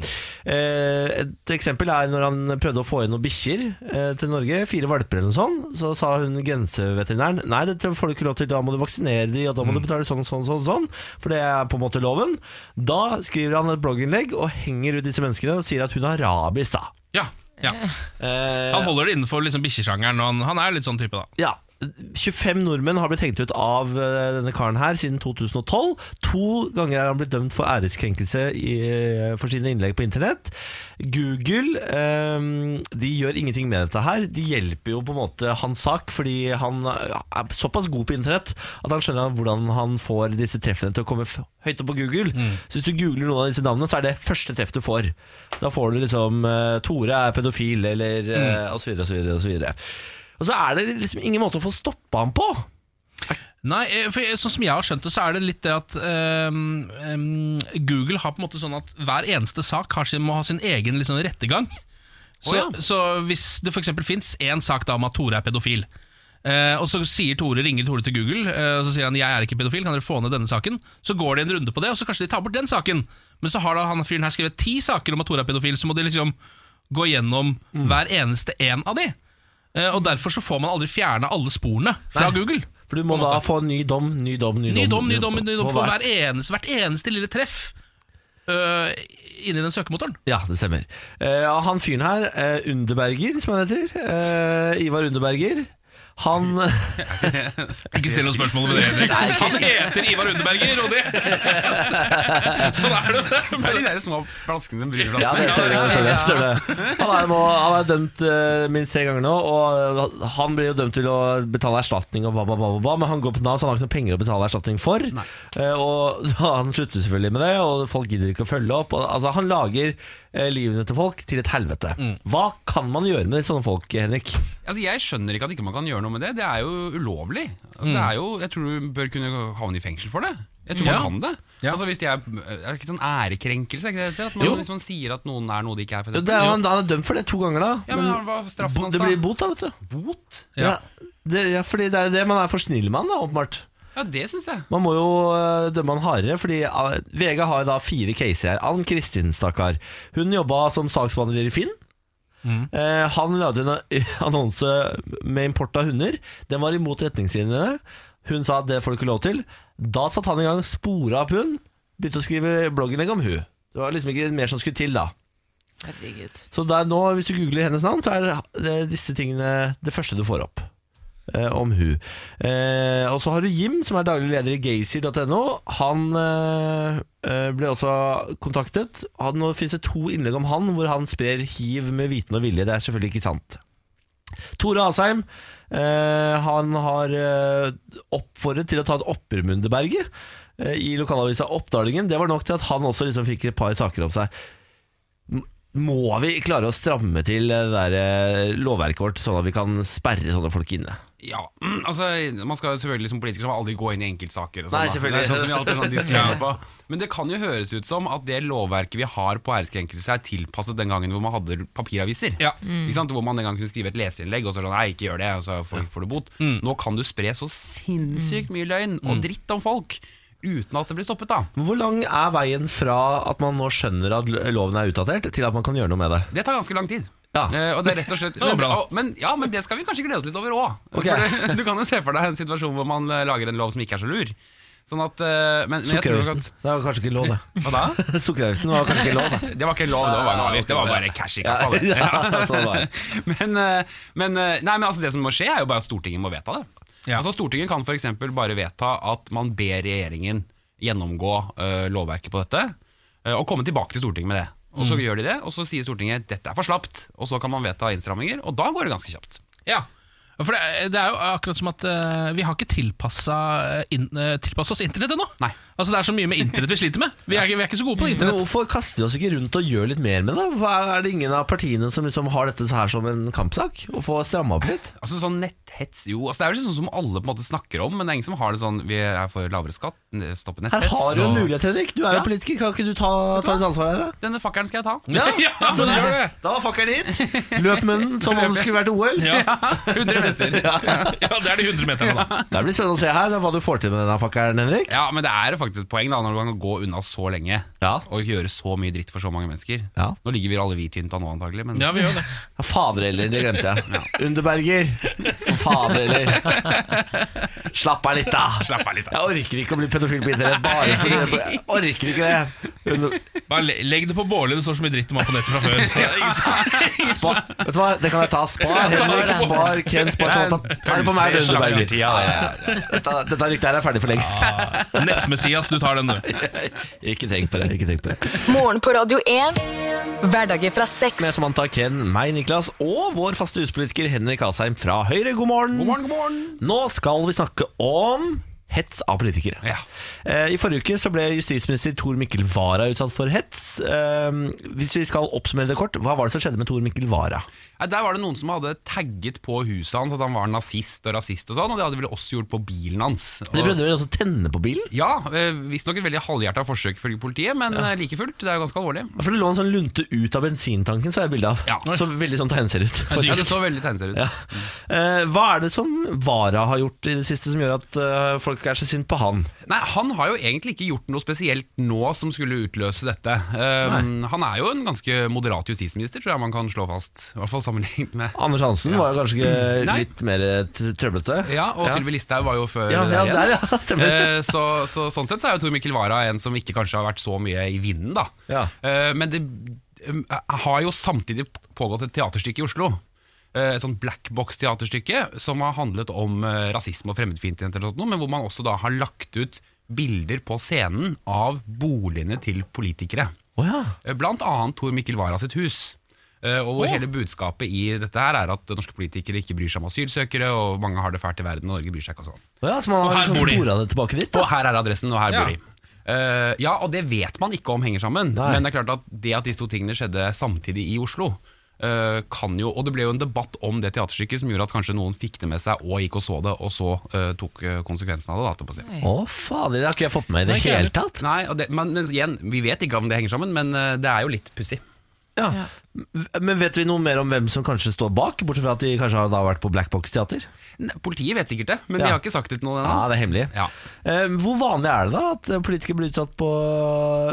Speaker 1: Eh, et eksempel er når han prøvde å få inn noen bikkjer eh, til Norge, fire valper eller noe sånt. Så sa hun grenseveterinæren nei, dette får du ikke lov til, da må du vaksinere de, og da må du betale sånn, sånn, sånn, sånn, for det er på en måte loven. Da skriver han et blogginnlegg og henger ut disse menneskene og sier at hun har rabies, da.
Speaker 3: Ja, ja.
Speaker 1: Eh,
Speaker 3: Han holder det innenfor liksom bikkjesjangeren. og Han, han er litt sånn type, da.
Speaker 1: ja, 25 nordmenn har blitt hengt ut av eh, denne karen her siden 2012. To ganger er han blitt dømt for æreskrenkelse i, eh, for sine innlegg på internett. Google eh, de gjør ingenting med dette her. De hjelper jo på en måte hans sak, fordi han eh, er såpass god på internett at han skjønner hvordan han får disse treffene til å komme f- høyt opp på Google. Så hvis du googler noen av disse navnene, så er det første treff du får. Da får du liksom eh, Tore er pedofil, eller eh, og så videre, og så videre, og så videre. Og så er det liksom ingen måte å få stoppa ham på.
Speaker 3: Nei, eh, for jeg- Sånn som jeg har skjønt det, så er det litt det at ehm, ehm, Google har på en måte sånn at hver eneste sak har sin, må ha sin egen liksom, rettegang. Så, så hvis det f.eks. fins én sak da om at Tore er pedofil, eh, og så sier Tore, ringer Tore til Google eh, og så sier han 'jeg er ikke pedofil, kan dere få ned denne saken', så går de en runde på det, og så kanskje de tar bort den saken. Men så har da han fyren her skrevet ti saker om at Tore er pedofil, så må de liksom gå gjennom hver eneste en av de. Eh, Og Derfor så får man aldri fjerna alle sporene fra Google.
Speaker 1: For du må da få en ny dom, ny dom, ny dom.
Speaker 3: Ny dom, ny dom, ny dom
Speaker 1: på
Speaker 3: for
Speaker 1: hver-
Speaker 3: hver eneste, hvert eneste lille treff øh, inni den søkemotoren.
Speaker 1: Ja, det stemmer. Eh, ja, han fyren her, eh, Underberger, som han heter. eh, Ivar Underberger. Han
Speaker 3: Ikke still noen spørsmål om det, Henrik. Han heter Ivar Underberger, og det Sånn er det.
Speaker 7: Det er de der små flaskene, de
Speaker 1: Ja,
Speaker 7: brylflaskene.
Speaker 1: det stemmer.
Speaker 3: altså.
Speaker 1: det stemmer, det stemmer. Han er, nå, han er dømt eh, minst tre ganger nå, og han blir jo dømt til å betale erstatning, og bla, bla, bla, bla, bla men han går på Nav, så han har ikke noen penger å betale erstatning for. Eh, og han slutter selvfølgelig med det, og folk gidder ikke å følge opp. Og, altså, han lager eh, livene til folk til et helvete. Hva kan man gjøre med sånne folk, Henrik?
Speaker 7: Altså, jeg skjønner ikke at ikke man kan gjøre noe med det. Det er jo ulovlig. Altså,
Speaker 6: Mm.
Speaker 7: det er jo, jeg tror du bør kunne havne i fengsel for det. Jeg tror
Speaker 3: Ja.
Speaker 7: man kan det. Altså, hvis de er, er det ikke sånn ærekrenkelse? Er ikke det det heter? at man, hvis man sier at noen er noe de ikke er, for
Speaker 1: Jo,
Speaker 7: eksempel.
Speaker 1: det er, han, han er dømt for det to ganger, da.
Speaker 7: Ja, men hva er straffen
Speaker 1: bo,
Speaker 7: hans
Speaker 1: det
Speaker 7: da?
Speaker 1: blir bot, da, vet du.
Speaker 7: Bot?
Speaker 1: Ja. det, ja, fordi det er det man er for snill med, han, da, åpenbart.
Speaker 7: Ja, det syns jeg.
Speaker 1: Man må jo øh, dømme han hardere, fordi øh, VG har jo da fire caser her. Ann Kristin, stakkar. Hun jobba som saksbehandler i Finn. Eh, han lagde en annonse med import av hunder. Den var imot retningslinjene. Hun sa at det får du ikke lov til. Da satte han i gang, spora opp hun, begynte å skrive blogginnlegg om hun. Det var liksom ikke mer som skulle til, da.
Speaker 2: Herregud.
Speaker 1: Så det er nå, hvis du googler hennes navn, så er det- det disse tingene det første du får opp. eh, om hun. Eh, og så har du Jim, som er daglig leder i gaysir.no. Han eh, eh, ble også kontaktet. Han, nå finnes det to innlegg om han hvor han sprer hiv med viten og vilje. Det er selvfølgelig ikke sant. Tore Asheim eh, han har eh, oppfordret til å ta et oppermundeberget eh, i lokalavisa Oppdalingen. Det var nok til at han også liksom fikk et par saker om seg. M- Må vi klare å stramme til det der eh, lovverket vårt, sånn at vi kan sperre sånne folk inne?
Speaker 7: Ja, mm, altså Man skal jo selvfølgelig som politiker skal man aldri gå inn i enkeltsaker. Og sånn,
Speaker 1: Nei,
Speaker 7: da.
Speaker 1: selvfølgelig.
Speaker 7: Det er sånn som vi alltid sånn disclaimer på Men det kan jo høres ut som at det lovverket vi har på æreskrenkelse, er tilpasset den gangen hvor man hadde papiraviser.
Speaker 3: Ja.
Speaker 7: Ikke sant? Hvor man den gang kunne skrive et leserinnlegg og så sånn Nei, ikke gjør det, og så får, får du bot.
Speaker 1: Mm.
Speaker 7: Nå kan du spre så sinnssykt mye løgn og dritt om folk uten at det blir stoppet, da.
Speaker 1: Men Hvor lang er veien fra at man nå skjønner at lo- loven er utdatert, til at man kan gjøre noe med det?
Speaker 7: Det tar ganske lang tid.
Speaker 1: Ja.
Speaker 7: Eh, og det er rett og slett
Speaker 3: var
Speaker 7: men,
Speaker 3: bra, da.
Speaker 7: og- men, ja, men det skal vi kanskje glede oss litt over òg.
Speaker 1: Ok.
Speaker 7: Du kan jo se for deg en situasjon hvor man eh, lager en lov som ikke er så lur. Sånn at eh, men, men jeg tror nok
Speaker 1: Sukkeravgiften.
Speaker 7: at
Speaker 1: Det var kanskje ikke lov, det.
Speaker 7: Hva da?
Speaker 1: Sukkeravgiften var kanskje ikke lov, det.
Speaker 7: Det var ikke lov, det var bare en avgift. Det var bare cash i kassa. det.
Speaker 1: Ja, ja, sånn var det.
Speaker 7: men eh, men, eh, nei, men altså, det som må skje, er jo bare at Stortinget må vedta det.
Speaker 3: Ja.
Speaker 7: Altså, Stortinget kan f.eks. bare vedta at man ber regjeringen gjennomgå eh, lovverket på dette, eh, og komme tilbake til Stortinget med det. Og Så gjør de det, og så sier Stortinget dette er for slapt, og så kan man vedta innstramminger, og da går det ganske kjapt.
Speaker 3: Ja. For det, er- det er jo akkurat som at eh, vi har ikke tilpassa in, eh, tilpasset oss internett ennå.
Speaker 7: Nei.
Speaker 3: Altså, det er så mye med internett vi sliter med. Vi er, ikke- vi er ikke så gode på
Speaker 1: Men
Speaker 3: internett.
Speaker 1: hvorfor kaster vi oss ikke rundt og gjør litt mer med det? Hvorfor Er er det ingen av partiene som liksom har dette så her som en kampsak? Å få stramma opp litt?
Speaker 7: Altså sånn netthets, jo, altså, Det er jo sånn som alle på en måte snakker om, men det er ingen som har det sånn vi er for lavere skatt, eh, stoppe
Speaker 1: Her
Speaker 7: netthets.
Speaker 1: har du en
Speaker 7: og-
Speaker 1: mulighet, Henrik. Du er jo
Speaker 7: Ja.
Speaker 1: politiker. Kan ikke du ta, ta litt ansvar her? da?
Speaker 7: Denne fakkelen skal jeg ta.
Speaker 3: Ja, men gjør det.
Speaker 1: Da var fakkelen hit. Løp med den som om det skulle vært OL.
Speaker 3: Ja, 100 meter. Ja, det er de 100 meterne, da.
Speaker 1: Det blir spennende å se her hva du får til med denne fakkelen, Henrik.
Speaker 7: Ja, men det er faktisk et poeng da når du kan gå unna så lenge
Speaker 1: Ja.
Speaker 7: og gjøre så mye dritt for så mange mennesker.
Speaker 1: Ja.
Speaker 7: Nå ligger vi alle vi tynt av nå, antagelig. Men
Speaker 3: Ja, vi gjør det.
Speaker 1: Fader heller, det glemte jeg. Underberger. For Fader heller. Slapp av litt, da.
Speaker 7: slapp av litt. da.
Speaker 1: Jeg orker ikke å bli pedofil på internett. Bare fordi jeg orker ikke det. Under,
Speaker 3: Bare le- legg det på bålet, det står så mye dritt om han på nettet fra før. Så det er ingen som- ingen som-
Speaker 1: Spar. Vet du hva, det kan jeg ta. Spar Henrik, spar Ken, spar sånn. Ta ta det på meg,
Speaker 7: Pølse i
Speaker 1: Rønneberger.
Speaker 7: slaktertida,
Speaker 1: Ja,
Speaker 7: det.
Speaker 1: ja, ja. Dette, dette ryktet her er ferdig for lengst.
Speaker 3: Nett-Messias, du tar den, du.
Speaker 1: Ikke tenk på det. ikke tenk på det
Speaker 4: Morgen på Radio 1. Hverdager fra
Speaker 1: Med
Speaker 4: seks.
Speaker 1: Samantha, Ken, meg, Niklas og vår faste huspolitiker Henrik Asheim fra Høyre. God morgen.
Speaker 7: God morgen, god morgen.
Speaker 1: Nå skal vi snakke om hets av politikere.
Speaker 7: Ja.
Speaker 1: Eh, I forrige uke så ble justisminister Tor Mikkel Wara utsatt for hets. Eh, Hvis vi skal oppsummere det kort, hva var det som skjedde med Tor Mikkel Wara?
Speaker 7: Nei, Der var det noen som hadde tagget på huset hans at han var nazist og rasist og sånn, og det hadde vel også gjort på bilen hans. Og,
Speaker 1: De prøvde vel også å tenne på bilen?
Speaker 7: ja, eh, visstnok et veldig halvhjerta forsøk ifølge politiet, men eh, like fullt, det er jo ganske alvorlig.
Speaker 1: For det lå en sånn lunte ut av bensintanken, så er det bilde av.
Speaker 7: Ja.
Speaker 1: Så veldig sånn tegn ser ut.
Speaker 7: Ja,
Speaker 1: faktisk.
Speaker 7: det så veldig tegneseriøst ut.
Speaker 1: Ja. Eh, hva er det som Vara har gjort i det siste som gjør at eh, folk er så sint på han?
Speaker 7: Nei, Han har jo egentlig ikke gjort noe spesielt nå som skulle utløse dette. Um, han er jo en ganske moderat justisminister, tror jeg man kan slå fast. I hvert fall sammenlignet med
Speaker 1: Anders Hansen var jo kanskje
Speaker 7: Mm. Nei.
Speaker 1: litt mer eh, tr- trøblete.
Speaker 7: Ja, og Sylvi Listhaug var jo før
Speaker 1: Ja, ja,
Speaker 7: igjen.
Speaker 1: der, ja, stemmer.
Speaker 7: Eh, så, så Sånn sett så er jo Tor Mikkel Wara en som ikke kanskje har vært så mye i vinden, da.
Speaker 1: Ja.
Speaker 7: Eh, men det um, har jo samtidig pågått et teaterstykke i Oslo. Eh, Et sånt black box-teaterstykke som har handlet om eh, rasisme og fremmedfiendtlighet, eller noe, men hvor man også da har lagt ut bilder på scenen av boligene til politikere.
Speaker 1: Å ja.
Speaker 7: Eh, Blant annet Tor Mikkel Wara sitt hus. Eh, Og hvor hele budskapet i dette her er at norske politikere ikke bryr seg om asylsøkere, og mange har det fælt i verden, og Norge bryr seg ikke og sånn.
Speaker 1: Å ja, så man
Speaker 3: Og
Speaker 1: har
Speaker 3: her
Speaker 1: liksom
Speaker 3: bor de.
Speaker 1: spora det tilbake dit?
Speaker 7: Og
Speaker 1: Da.
Speaker 7: her er adressen, og her
Speaker 3: Ja.
Speaker 7: bor de. Eh, ja, og det vet man ikke om henger sammen,
Speaker 1: Nei.
Speaker 7: men det er klart at det at disse to tingene skjedde samtidig i Oslo, eh, kan jo, og det ble jo en debatt om det teaterstykket som gjorde at kanskje noen fikk det med seg og gikk og så det, og så eh, tok eh, konsekvensen av det. Da, holdt jeg på å si.
Speaker 1: Å fader, det har ikke jeg fått med meg i det
Speaker 3: ikke
Speaker 1: hele tatt.
Speaker 7: Nei, og det, men, men igjen, vi vet ikke om det henger sammen, men eh, det er jo litt pussig.
Speaker 1: Ja. Men vet vi noe mer om hvem som kanskje står bak, bortsett fra at de kanskje har da vært på Black Box Teater?
Speaker 7: Ne, Politiet vet sikkert det, men
Speaker 1: Ja.
Speaker 7: de har ikke sagt det til noen ennå.
Speaker 1: Ja, det er hemmelig.
Speaker 7: Ja.
Speaker 1: Eh, Hvor vanlig er det da at politikere blir utsatt på,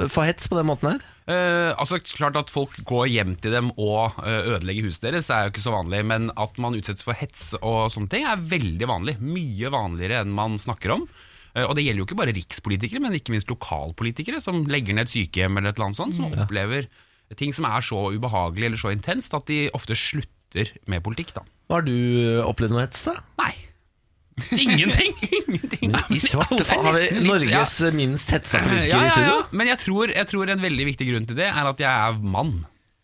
Speaker 1: for hets på den måten her?
Speaker 7: Eh, altså Klart at folk går hjem til dem og eh, ødelegger huset deres, er jo ikke så vanlig. Men at man utsettes for hets og sånne ting, er veldig vanlig. Mye vanligere enn man snakker om. Eh, og det gjelder jo ikke bare rikspolitikere, men ikke minst lokalpolitikere som legger ned et sykehjem eller et eller annet sånt, som opplever ting som er så ubehagelig eller så intenst at de ofte slutter med politikk, da.
Speaker 1: Har du opplevd noe hets, da?
Speaker 7: Nei.
Speaker 3: Ingenting!
Speaker 1: I svart
Speaker 3: Det er
Speaker 1: faen, har vi
Speaker 3: nesten litt-
Speaker 1: Norges minst hetsa
Speaker 7: Ja,
Speaker 1: politiker
Speaker 7: ja,
Speaker 1: i
Speaker 7: ja.
Speaker 1: studio.
Speaker 7: Men jeg tror, jeg tror en veldig viktig grunn til det er at jeg er mann.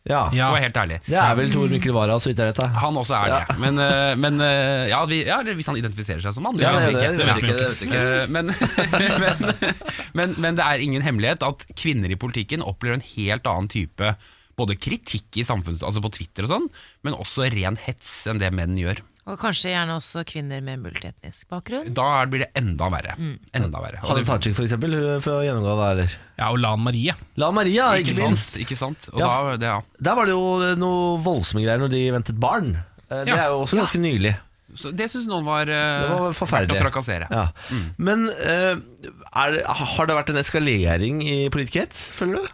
Speaker 1: Ja.
Speaker 7: Det
Speaker 3: Ja.
Speaker 7: var helt ærlig.
Speaker 1: Det er vel Tor Mikkel Wara, så vidt jeg vet. da.
Speaker 7: Han også er det. Men, eh, men eh, ja, at vi, ja, eller hvis han identifiserer seg som mann.
Speaker 1: Ja, det-
Speaker 7: vet vi
Speaker 1: det vet vi ikke, det vet vi ikke.
Speaker 7: Eh, Men, men, men, men det er ingen hemmelighet at kvinner i politikken opplever en helt annen type både kritikk i samfunns, altså på Twitter og sånn, men også ren hets enn det menn gjør.
Speaker 2: Og kanskje gjerne også kvinner med multietnisk bakgrunn.
Speaker 7: Da er- blir det enda verre. Enda verre. Og
Speaker 1: Halle
Speaker 7: det-
Speaker 1: Tajik, for eksempel, hun får gjennomgå det, eller?
Speaker 3: Ja, og Lan Marie.
Speaker 1: La Maria, ikke,
Speaker 7: ikke
Speaker 1: minst.
Speaker 7: sant? Ikke sant? Og
Speaker 1: Ja.
Speaker 7: da, det, ja.
Speaker 1: Der var det jo noe voldsomme greier når de ventet barn. Eh, Det
Speaker 3: Ja.
Speaker 1: er jo også ganske nylig.
Speaker 7: Så det syns noen var, eh,
Speaker 1: Det var forferdelig.
Speaker 7: Å trakassere.
Speaker 1: Ja. Men eh, er, det- har det vært en eskalering i politikerhets, føler du?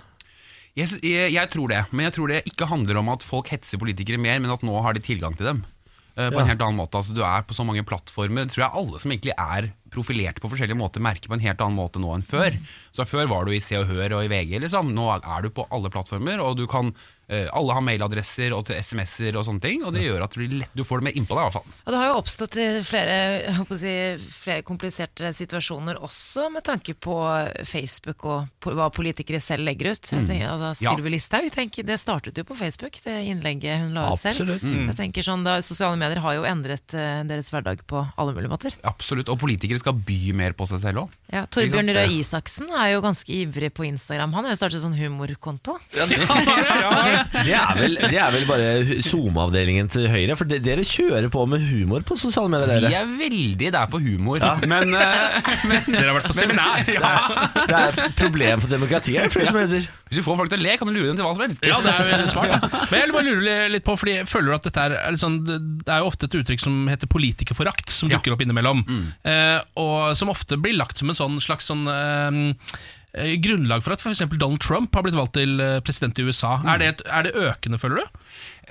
Speaker 7: Jeg, sy- jeg, jeg tror det, men jeg tror det ikke handler om at folk hetser politikere mer, men at nå har de tilgang til dem. eh, På
Speaker 1: Ja.
Speaker 7: en helt annen måte, altså Du er på så mange plattformer. Det tror jeg alle som egentlig er profilert på forskjellige måter, merker på en helt annen måte nå enn før. Så Før var du i Se og Hør og i VG. liksom Nå er du på alle plattformer. Og du kan eh, Alle har mailadresser og til SMS-er og sånne ting. Og det gjør at du, blir lett, du får det mer innpå deg. i hvert fall
Speaker 2: Og det har jo oppstått eh, flere, jeg holdt på å si, flere kompliserte situasjoner også med tanke på Facebook og po- hva politikere selv legger ut. Jeg tenker, altså,
Speaker 7: Mm. Ja.
Speaker 2: Sylvi Listhaug tenk, det startet jo på Facebook, det innlegget hun la ut selv.
Speaker 1: Absolutt.
Speaker 2: Så
Speaker 7: Mm.
Speaker 2: jeg tenker sånn, da, Sosiale medier har jo endret eh, deres hverdag på alle mulige måter.
Speaker 7: Absolutt, Og politikere skal by mer på seg selv òg.
Speaker 2: Ja,
Speaker 7: Ikke sant,
Speaker 2: Torbjørn
Speaker 7: det-
Speaker 2: Røe Isaksen er jo ganske ivrig på Instagram. Han har jo startet sånn humorkonto.
Speaker 1: Det er vel, det er vel bare SoMe-avdelingen til Høyre, for de, dere kjører på med humor på sosiale medier.
Speaker 7: Vi
Speaker 1: Dere.
Speaker 7: er veldig der på humor, men eh,
Speaker 3: Dere har vært på seminar.
Speaker 1: Det er et problem for demokratiet, er det flere som hevder.
Speaker 7: hvis du får folk til å le, kan du lure dem til hva som helst.
Speaker 3: Ja, det er jo smart. Da. Men jeg bare lurer litt på, fordi jeg føler at dette er, litt sånn, Det er jo ofte et uttrykk som heter politikerforakt, som
Speaker 7: Ja.
Speaker 3: dukker opp innimellom. Eh, og som ofte blir lagt som en sånn slags sånn eh, eh, grunnlag for at f.eks. Donald Trump har blitt valgt til eh, president i USA. Er, det et, er det økende, føler du?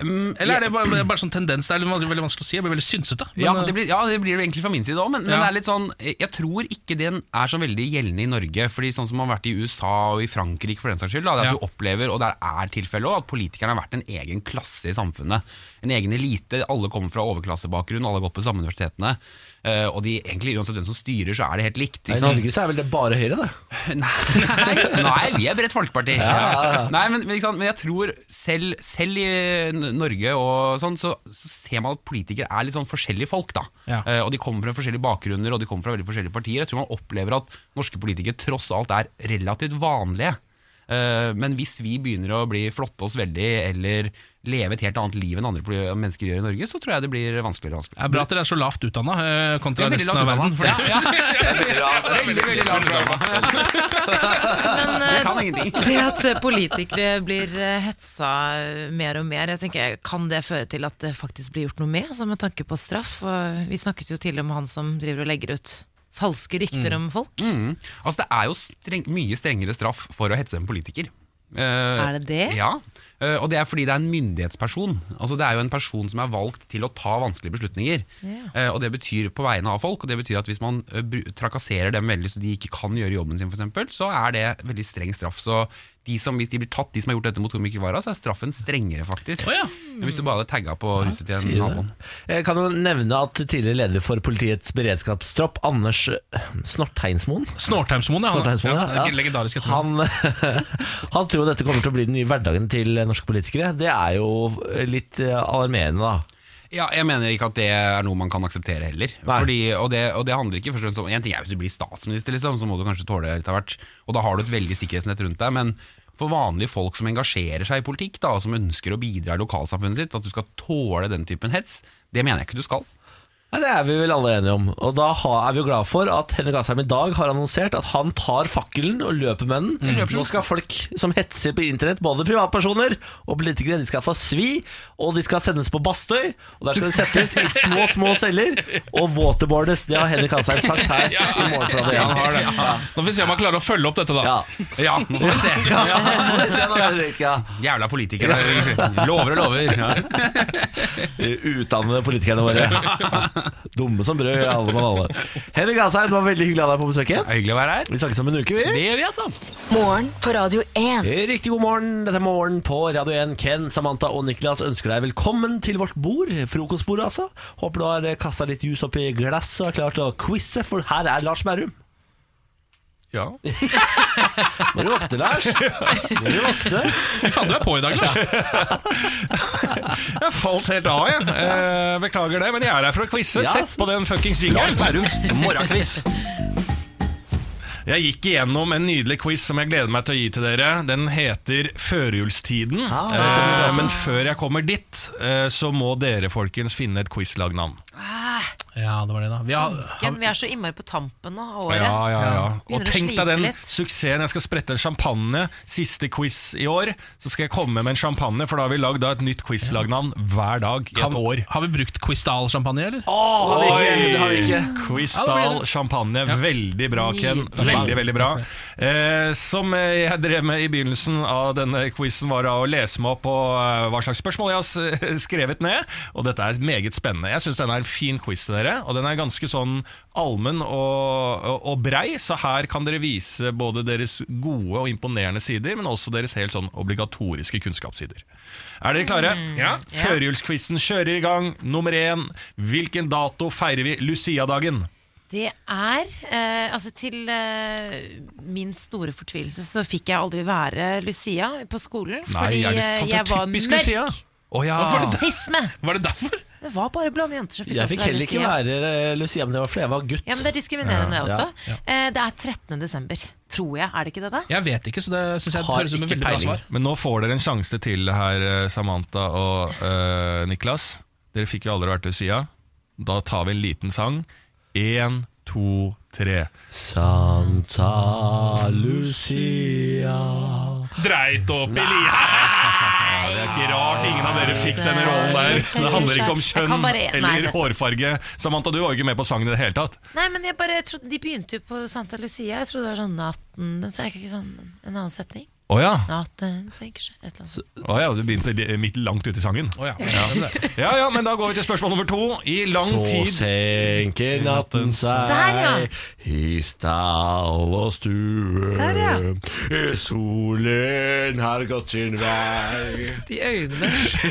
Speaker 3: Eller er det bare, bare sånn tendens? Det er veldig, veldig vanskelig å si. Jeg blir veldig synsete. Men, eh,
Speaker 7: ja, det blir, ja, det blir det egentlig fra min side òg, men, men
Speaker 3: Ja.
Speaker 7: det er litt sånn Jeg tror ikke den er så veldig gjeldende i Norge. Fordi sånn som man har vært i USA og i Frankrike, for den saks skyld, da, det er
Speaker 3: Ja.
Speaker 7: at du opplever, og der er tilfellet òg, at politikerne har vært en egen klasse i samfunnet. En egen elite. Alle kommer fra overklassebakgrunn, alle har gått på samme universitetene. eh, og de egentlig, uansett hvem som styrer, så er det helt likt.
Speaker 1: I
Speaker 7: Ikke sant?
Speaker 1: Norge så er vel det bare Høyre, da.
Speaker 7: Nei, nei, vi er bredt folkeparti.
Speaker 1: ja, ja.
Speaker 7: Nei, men, men, ikke sant? men jeg tror selv, selv i N- Norge og sånn, så, så ser man at politikere er litt sånn forskjellige folk. da.
Speaker 3: Ja.
Speaker 7: Eh, og De kommer fra forskjellige bakgrunner og de kommer fra veldig forskjellige partier. Jeg tror man opplever at norske politikere tross alt er relativt vanlige. Eh, men hvis vi begynner å bli flotte oss veldig eller leve et helt annet liv enn andre poli- mennesker gjør i Norge, så tror jeg det blir vanskeligere og
Speaker 3: det
Speaker 7: vanskeligere.
Speaker 3: er bra at dere er så lavt utdanna kontra
Speaker 7: Det er veldig
Speaker 3: resten av
Speaker 7: lavt
Speaker 3: verden.
Speaker 7: utdannet.
Speaker 3: fordi-
Speaker 7: Veldig, veldig langt bra.
Speaker 2: Men eh,
Speaker 7: Jeg kan ingenting.
Speaker 2: Det at eh, politikere blir eh, hetsa eh, mer og mer, jeg tenker, kan det føre til at det faktisk blir gjort noe med, altså med tanke på straff? Og vi snakket jo tidligere om han som driver og legger ut falske rykter om folk.
Speaker 7: Mm. Altså Det er jo streng, mye strengere straff for å hetse en politiker.
Speaker 2: Er det det?
Speaker 7: Ja, Eh, og det er fordi det er en myndighetsperson. Altså Det er jo en person som er valgt til å ta vanskelige beslutninger.
Speaker 2: Ja.
Speaker 7: Eh, og Det betyr på vegne av folk, og det betyr at hvis man eh, bru- trakasserer dem veldig så de ikke kan gjøre jobben sin, for eksempel, så er det veldig streng straff. Så de som, hvis de blir tatt, de som har gjort dette mot Tor Mikkel Wara, så er straffen strengere, faktisk.
Speaker 3: Å ja.
Speaker 7: Men hvis du bare hadde tagga på huset til en
Speaker 1: Sier
Speaker 7: naboen.
Speaker 1: det. Jeg kan jo nevne at tidligere leder for politiets beredskapstropp, Anders eh, Snortheinsmoen
Speaker 3: Snortheimsmoen, ja. han-
Speaker 1: Snortheimsmoen,
Speaker 3: ja, det er Legendarisk etternavn.
Speaker 1: Han, han tror dette kommer til å bli den nye hverdagen til norske politikere. Det er jo litt eh, alarmerende, da.
Speaker 7: Ja, jeg mener ikke at det er noe man kan akseptere heller.
Speaker 1: Nei.
Speaker 7: Fordi, og, det, og det handler ikke først og fremst om En ting er hvis du blir statsminister, liksom, så må du kanskje tåle litt av hvert. Og da har du et veldig sikkerhetsnett rundt deg. Men for vanlige folk som engasjerer seg i politikk, da, og som ønsker å bidra i lokalsamfunnet sitt, at du skal tåle den typen hets, det mener jeg ikke du skal.
Speaker 1: Nei, Det er vi vel alle enige om. Og da ha- er vi jo glad for at Henrik Asheim i dag har annonsert at han tar fakkelen og løper med den. Nå skal folk som hetser på internett, både privatpersoner og politikere, de skal få svi, og de skal sendes på Bastøy. Og der skal de settes i små, små celler og waterboardes. Det har Henrik Asheim sagt her i Morgenbladet.
Speaker 3: Ja, han har det. Nå får vi se om han klarer å følge opp dette, da.
Speaker 1: Ja.
Speaker 7: Ja, nå får vi se.
Speaker 1: Ja, får vi se nå, Henrik, ja.
Speaker 7: Jævla politikere. Lover og lover. Ja.
Speaker 1: Utdannede politikerne våre. Dumme som brød, alle mann alle. Henrik Asheim, det var veldig hyggelig å ha deg på
Speaker 8: Det
Speaker 1: besøket.
Speaker 8: er hyggelig å være her.
Speaker 1: Vi snakkes om en uke, vi.
Speaker 8: Det gjør vi, altså.
Speaker 9: Morgen på Radio 1.
Speaker 1: Riktig god morgen. Dette er Morgen på Radio 1. Ken, Samantha og Niklas ønsker deg velkommen til vårt bord. Frokostbordet, altså. Håper du har kasta litt juice oppi glasset og er klar til å quize, for her er Lars Berrum.
Speaker 3: Ja.
Speaker 1: Må du våkne, Lars. Må du våkne.
Speaker 3: Fy faen, du er på i dag, Lars.
Speaker 7: Jeg falt helt av, jeg. Eh, beklager det, men jeg er her for å quize.
Speaker 1: Ja,
Speaker 7: Sett på den fuckings jingeren!
Speaker 8: Bærums morgenkviss.
Speaker 7: Jeg gikk igjennom en nydelig quiz som jeg gleder meg til å gi til dere. Den heter Førjulstiden.
Speaker 1: Ah, det er
Speaker 7: eh, men før jeg kommer dit, eh, så må dere folkens finne et quizlagnavn.
Speaker 3: Ja, det var det, da. Vi har, har,
Speaker 2: Ken, vi er så innmari på tampen nå av året.
Speaker 7: Ja, ja, ja. Og
Speaker 2: Begynner å
Speaker 7: tenk
Speaker 2: slite
Speaker 7: deg den
Speaker 2: litt.
Speaker 7: suksessen. Jeg skal sprette en champagne siste quiz i år. Så skal jeg komme med en champagne, for da har vi lagd da et nytt quizlagnavn hver dag i
Speaker 3: har,
Speaker 7: et år.
Speaker 3: vi- har vi brukt Quistal-champagne, eller?
Speaker 1: Å, har vi ikke. Det har vi ikke.
Speaker 3: Ja, det
Speaker 7: Quistal
Speaker 3: blir det.
Speaker 7: champagne. Veldig bra, Ken.
Speaker 3: Nydelig.
Speaker 7: Veldig, veldig bra. Eh, som eh, jeg drev med i begynnelsen av denne quizen, var da å lese meg opp på eh, hva slags spørsmål jeg har s- skrevet ned. Og dette er meget spennende. Jeg syns denne er en fin quiz til dere. Og den er ganske sånn allmenn og, og, og brei, så her kan dere vise både deres gode og imponerende sider, men også deres helt sånn obligatoriske kunnskapssider. Er dere klare? Ja. Førjulsquizen kjører i gang. Nummer én. Hvilken dato feirer vi Lucia-dagen?
Speaker 2: Det er eh, Altså, til eh, min store fortvilelse så fikk jeg aldri være Lucia på skolen. fordi
Speaker 7: er det
Speaker 2: eh,
Speaker 7: sant? Det er
Speaker 2: jeg var
Speaker 7: typisk
Speaker 2: mørk.
Speaker 7: Lucia.
Speaker 8: Å ja.
Speaker 2: Og Rasisme!
Speaker 3: Var det derfor?
Speaker 2: Det var bare blonde jenter som fikk
Speaker 1: Jeg
Speaker 2: lov til
Speaker 1: fikk
Speaker 2: å være
Speaker 1: heller ikke
Speaker 2: Lucia.
Speaker 1: være eh, Lucia, men jeg var flere. Jeg var gutt.
Speaker 2: Ja, men Det er diskriminerende, det
Speaker 1: Ja,
Speaker 2: også. Eh, Det er 13. desember, tror jeg. Er det ikke det, da?
Speaker 3: Jeg vet ikke, så det syns jeg
Speaker 1: Har
Speaker 3: høres ut som et
Speaker 1: ikke
Speaker 3: veldig bra
Speaker 1: peiling.
Speaker 3: svar.
Speaker 7: Men nå får dere en sjanse til her, eh, Samantha og eh, Niklas. Dere fikk jo aldri vært ved sida. Da tar vi en liten sang. Én, to, tre.
Speaker 1: Santa Lucia
Speaker 3: Dreit opp i lia!
Speaker 7: Det er ikke rart ingen av dere fikk denne rollen der. Det handler ikke om
Speaker 2: Jeg kan
Speaker 7: kjønn
Speaker 2: bare- nei,
Speaker 7: eller
Speaker 2: det-
Speaker 7: hårfarge. Samantha, du var jo ikke med på sangen i det hele tatt.
Speaker 2: Nei, men jeg bare trodde De begynte jo på Santa Lucia. Jeg trodde det var sånn natten Den senker ikke sånn en annen setning.
Speaker 7: Å ja.
Speaker 2: Natten senker seg Et eller annet.
Speaker 7: Å ja, du begynte li- midt langt ute i sangen.
Speaker 3: Å ja. Ja, det er det.
Speaker 7: Ja ja, men da går vi til spørsmål nummer to. I lang
Speaker 1: Så
Speaker 7: tid
Speaker 1: senker natten
Speaker 2: Der, ja.
Speaker 1: seg i stall og stue.
Speaker 2: Der, ja.
Speaker 1: Solen har gått sin vei,
Speaker 2: De øynene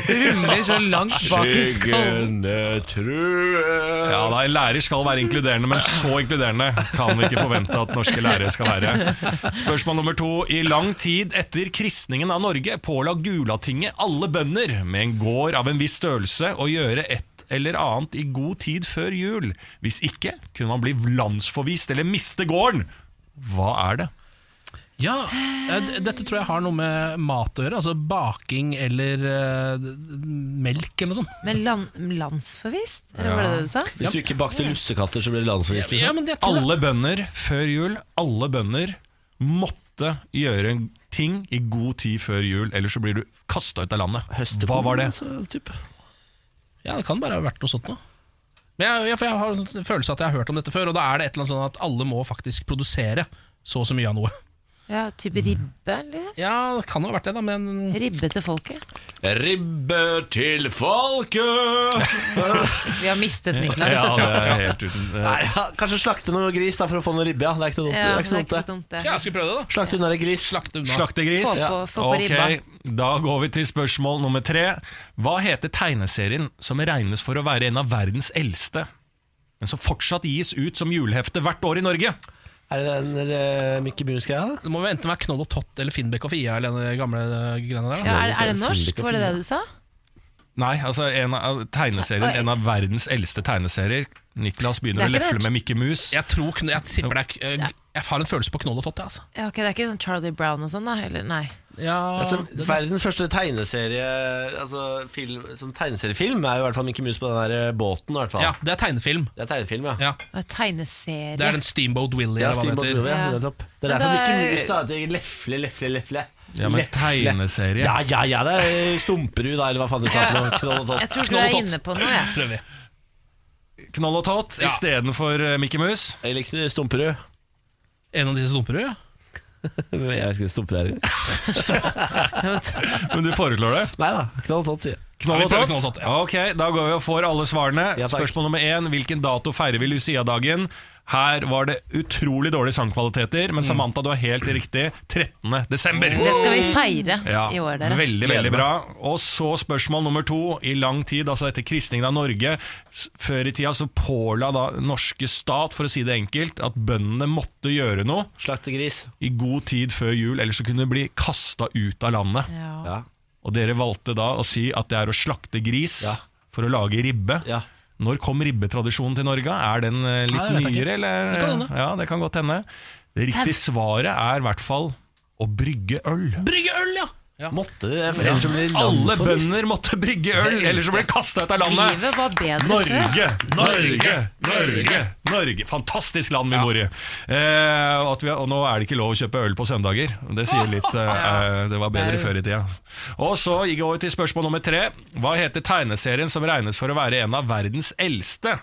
Speaker 2: ruller så langt bak i skallen.
Speaker 1: skyggene truer.
Speaker 7: Ja da, En lærer skal være inkluderende, men så inkluderende kan vi ikke forvente at norske lærere skal være. Spørsmål nummer to. I lang tid etter kristningen av Norge påla Gulatinget alle bønder med en gård av en viss størrelse å gjøre et eller annet i god tid før jul. Hvis ikke kunne man bli landsforvist eller miste gården. Hva er det?
Speaker 3: ja eh, d- Dette tror jeg har noe med mat å gjøre. Altså baking eller eh, d- melk eller noe sånt.
Speaker 2: Men land, landsforvist? Eller var det det du sa?
Speaker 1: Hvis du ikke bakte lussekatter, så ble det landsforvist.
Speaker 3: Ja, men jeg tror det-
Speaker 7: Alle bønder før jul, alle bønder måtte gjøre ting i god tid før jul, ellers så blir du kasta ut av landet. Hva var det?
Speaker 3: Ja, det kan bare ha vært noe sånt noe. Men jeg, jeg, for jeg har en sånn følelse at jeg har hørt om dette før, og da er det et eller annet sånn at alle må faktisk produsere så og så mye av noe.
Speaker 2: Ja, Type ribbe, liksom?
Speaker 3: Ja, det kan jo ha vært det, da, men
Speaker 2: Ribbe til folket.
Speaker 1: Ribbe til folket!
Speaker 2: Vi har mistet Niklas.
Speaker 7: Ja, det er helt uten eh,
Speaker 1: Nei, ja, kanskje slakte noe gris da for å få noe ribbe. Ja. Det er ikke noe dumt, det
Speaker 2: Ja,
Speaker 1: er ikke noe dumt det.
Speaker 2: dumt, det.
Speaker 3: Ja, jeg skal prøve det, da.
Speaker 1: Slakte unna deg gris.
Speaker 3: Slakte unna.
Speaker 7: Slaktegris.
Speaker 2: Få på- få på
Speaker 7: Ok, Da går vi til spørsmål nummer tre. Hva heter tegneserien som regnes for å være en av verdens eldste, men som fortsatt gis ut som julehefte hvert år i Norge?
Speaker 1: Er det den uh, Mickey Mouse-greia? da?
Speaker 3: Det må jo enten være Knoll og Tott eller Finnbekk og Fia eller den gamle eh, greiene der.
Speaker 2: Ja, er, er det norsk? Var det det du sa?
Speaker 7: Nei, altså en av tegneserien, en av verdens eldste tegneserier. Niklas begynner å
Speaker 2: Det er ikke
Speaker 7: lefle
Speaker 2: det.
Speaker 7: med Mikke Mus.
Speaker 3: Jeg tror, kn- jeg tipper det er eh, Jeg har en følelse på Knoll og Tott, jeg, altså.
Speaker 2: Ja, ok, Det er ikke sånn Charlie Brown og sånn, da? Eller nei.
Speaker 3: Ja,
Speaker 1: Altså, verdens første tegneserie Altså film, sånn tegneseriefilm er jo i hvert fall Mickey Mouse på den der eh, båten. i hvert fall
Speaker 3: ja, det er tegnefilm.
Speaker 1: Det er tegnefilm, ja.
Speaker 3: Ja,
Speaker 2: Det er Tegneserie.
Speaker 3: det er den Steamboat Willie
Speaker 1: Ja,
Speaker 3: eller hva
Speaker 1: Steamboat
Speaker 3: det heter.
Speaker 1: Willie, ja,
Speaker 2: Ja.
Speaker 1: nettopp. Det er
Speaker 2: Men
Speaker 1: derfor
Speaker 2: da-
Speaker 1: Mickey Mouse stadig lefle, lefle, lefle.
Speaker 7: Ja, men tegneserie
Speaker 1: Ja, ja, ja, det er Stumperud, da, eller hva faen du sa. for noe. Knoll og
Speaker 2: Jeg
Speaker 1: tott.
Speaker 2: tror ikke du
Speaker 3: Knoll og
Speaker 2: er
Speaker 3: Tott.
Speaker 2: inne på noe, jeg.
Speaker 3: Prøver vi.
Speaker 7: Knoll og Tott
Speaker 3: Ja.
Speaker 7: istedenfor eh, Mikke Mus.
Speaker 1: Jeg likte Stumperud.
Speaker 3: En av disse dumperud, ja.
Speaker 1: Jeg vet ikke hva Stumperud er.
Speaker 7: Men du foreslår det?
Speaker 1: Nei da, Knoll og tott, sier jeg.
Speaker 7: Knoll
Speaker 3: Ja, vi
Speaker 7: og
Speaker 3: prøver
Speaker 7: tott?
Speaker 3: knoll og tott, ja.
Speaker 7: Ok, da går vi og får alle svarene.
Speaker 1: Ja, takk.
Speaker 7: Spørsmål nummer én hvilken dato feirer vi Lucia-dagen? Her var det utrolig dårlige sangkvaliteter, men Samantha, du er helt riktig. 13. desember.
Speaker 2: Det skal vi feire
Speaker 7: Ja,
Speaker 2: i år, dere.
Speaker 7: Veldig,
Speaker 1: Gleder
Speaker 7: veldig
Speaker 1: meg.
Speaker 7: bra. Og så spørsmål nummer to. I lang tid, altså etter kristningen av Norge, s- før i tida så påla da norske stat, for å si det enkelt, at bøndene måtte gjøre noe
Speaker 1: Slaktegris.
Speaker 7: i god tid før jul, ellers så kunne de bli kasta ut av landet.
Speaker 2: Ja.
Speaker 1: Ja.
Speaker 7: Og dere valgte da å si at det er å slakte gris
Speaker 1: Ja.
Speaker 7: for å lage ribbe.
Speaker 1: Ja.
Speaker 7: Når kom ribbetradisjonen til Norge? Er den eh, litt
Speaker 3: Nei, det vet jeg
Speaker 7: nyere, eller?
Speaker 3: Det kan hende.
Speaker 7: Ja, det kan godt hende. Det riktige svaret er i hvert fall å brygge øl.
Speaker 3: Brygge øl, ja! ja.
Speaker 1: Måtte det? for ellers så blir det
Speaker 7: Alle
Speaker 1: landsforvist.
Speaker 7: bønder måtte brygge øl, ellers så ble de kasta ut av landet.
Speaker 2: Livet var bedre før.
Speaker 7: Norge, Norge, Norge, Norge. Fantastisk land vi bor i. Eh, og, at vi, og nå er det ikke lov å kjøpe øl på søndager. Det sier litt eh, eh, Det var bedre før i tida. Og så gikk jeg over til spørsmål nummer tre. Hva heter tegneserien som regnes for å være en av verdens eldste?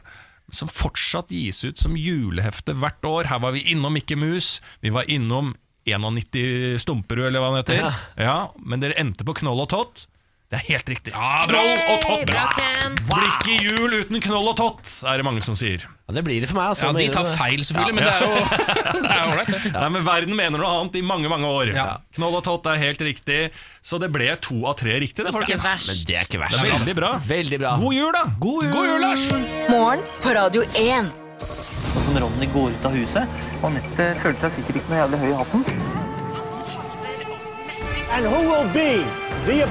Speaker 7: Som fortsatt gis ut som julehefte hvert år. Her var vi innom Mikke Mus. Vi var innom 91 Stumperud, eller hva han heter.
Speaker 1: Ja.
Speaker 7: Ja, men dere endte på Knoll og Tott. Det er helt riktig. Ja, og
Speaker 2: Hey,
Speaker 7: Tott.
Speaker 2: bra, Ken.
Speaker 7: Blir ikke jul uten knoll og tott, er det mange som sier.
Speaker 1: Ja, det blir det for meg. Altså.
Speaker 3: Ja, De
Speaker 1: Det blir
Speaker 3: tar
Speaker 1: det.
Speaker 3: feil, selvfølgelig, men det er jo det er jo ålreit, det.
Speaker 7: Nei, men Verden mener noe annet i mange mange år.
Speaker 3: Ja.
Speaker 7: Knoll og tott er helt riktig, så det ble to av tre riktig. Det,
Speaker 2: Ikke
Speaker 7: folkens.
Speaker 1: Men
Speaker 2: verst.
Speaker 1: det er ikke
Speaker 7: det
Speaker 1: verst.
Speaker 7: er veldig bra.
Speaker 1: Veldig bra.
Speaker 7: God jul, da!
Speaker 1: God jul.
Speaker 3: God jul, Lars!
Speaker 10: Morgen på Radio 1.
Speaker 11: Og som Ronny går ut av huset. Anette følte seg sikkert ikke noe jævlig høy i hatten.
Speaker 12: Dette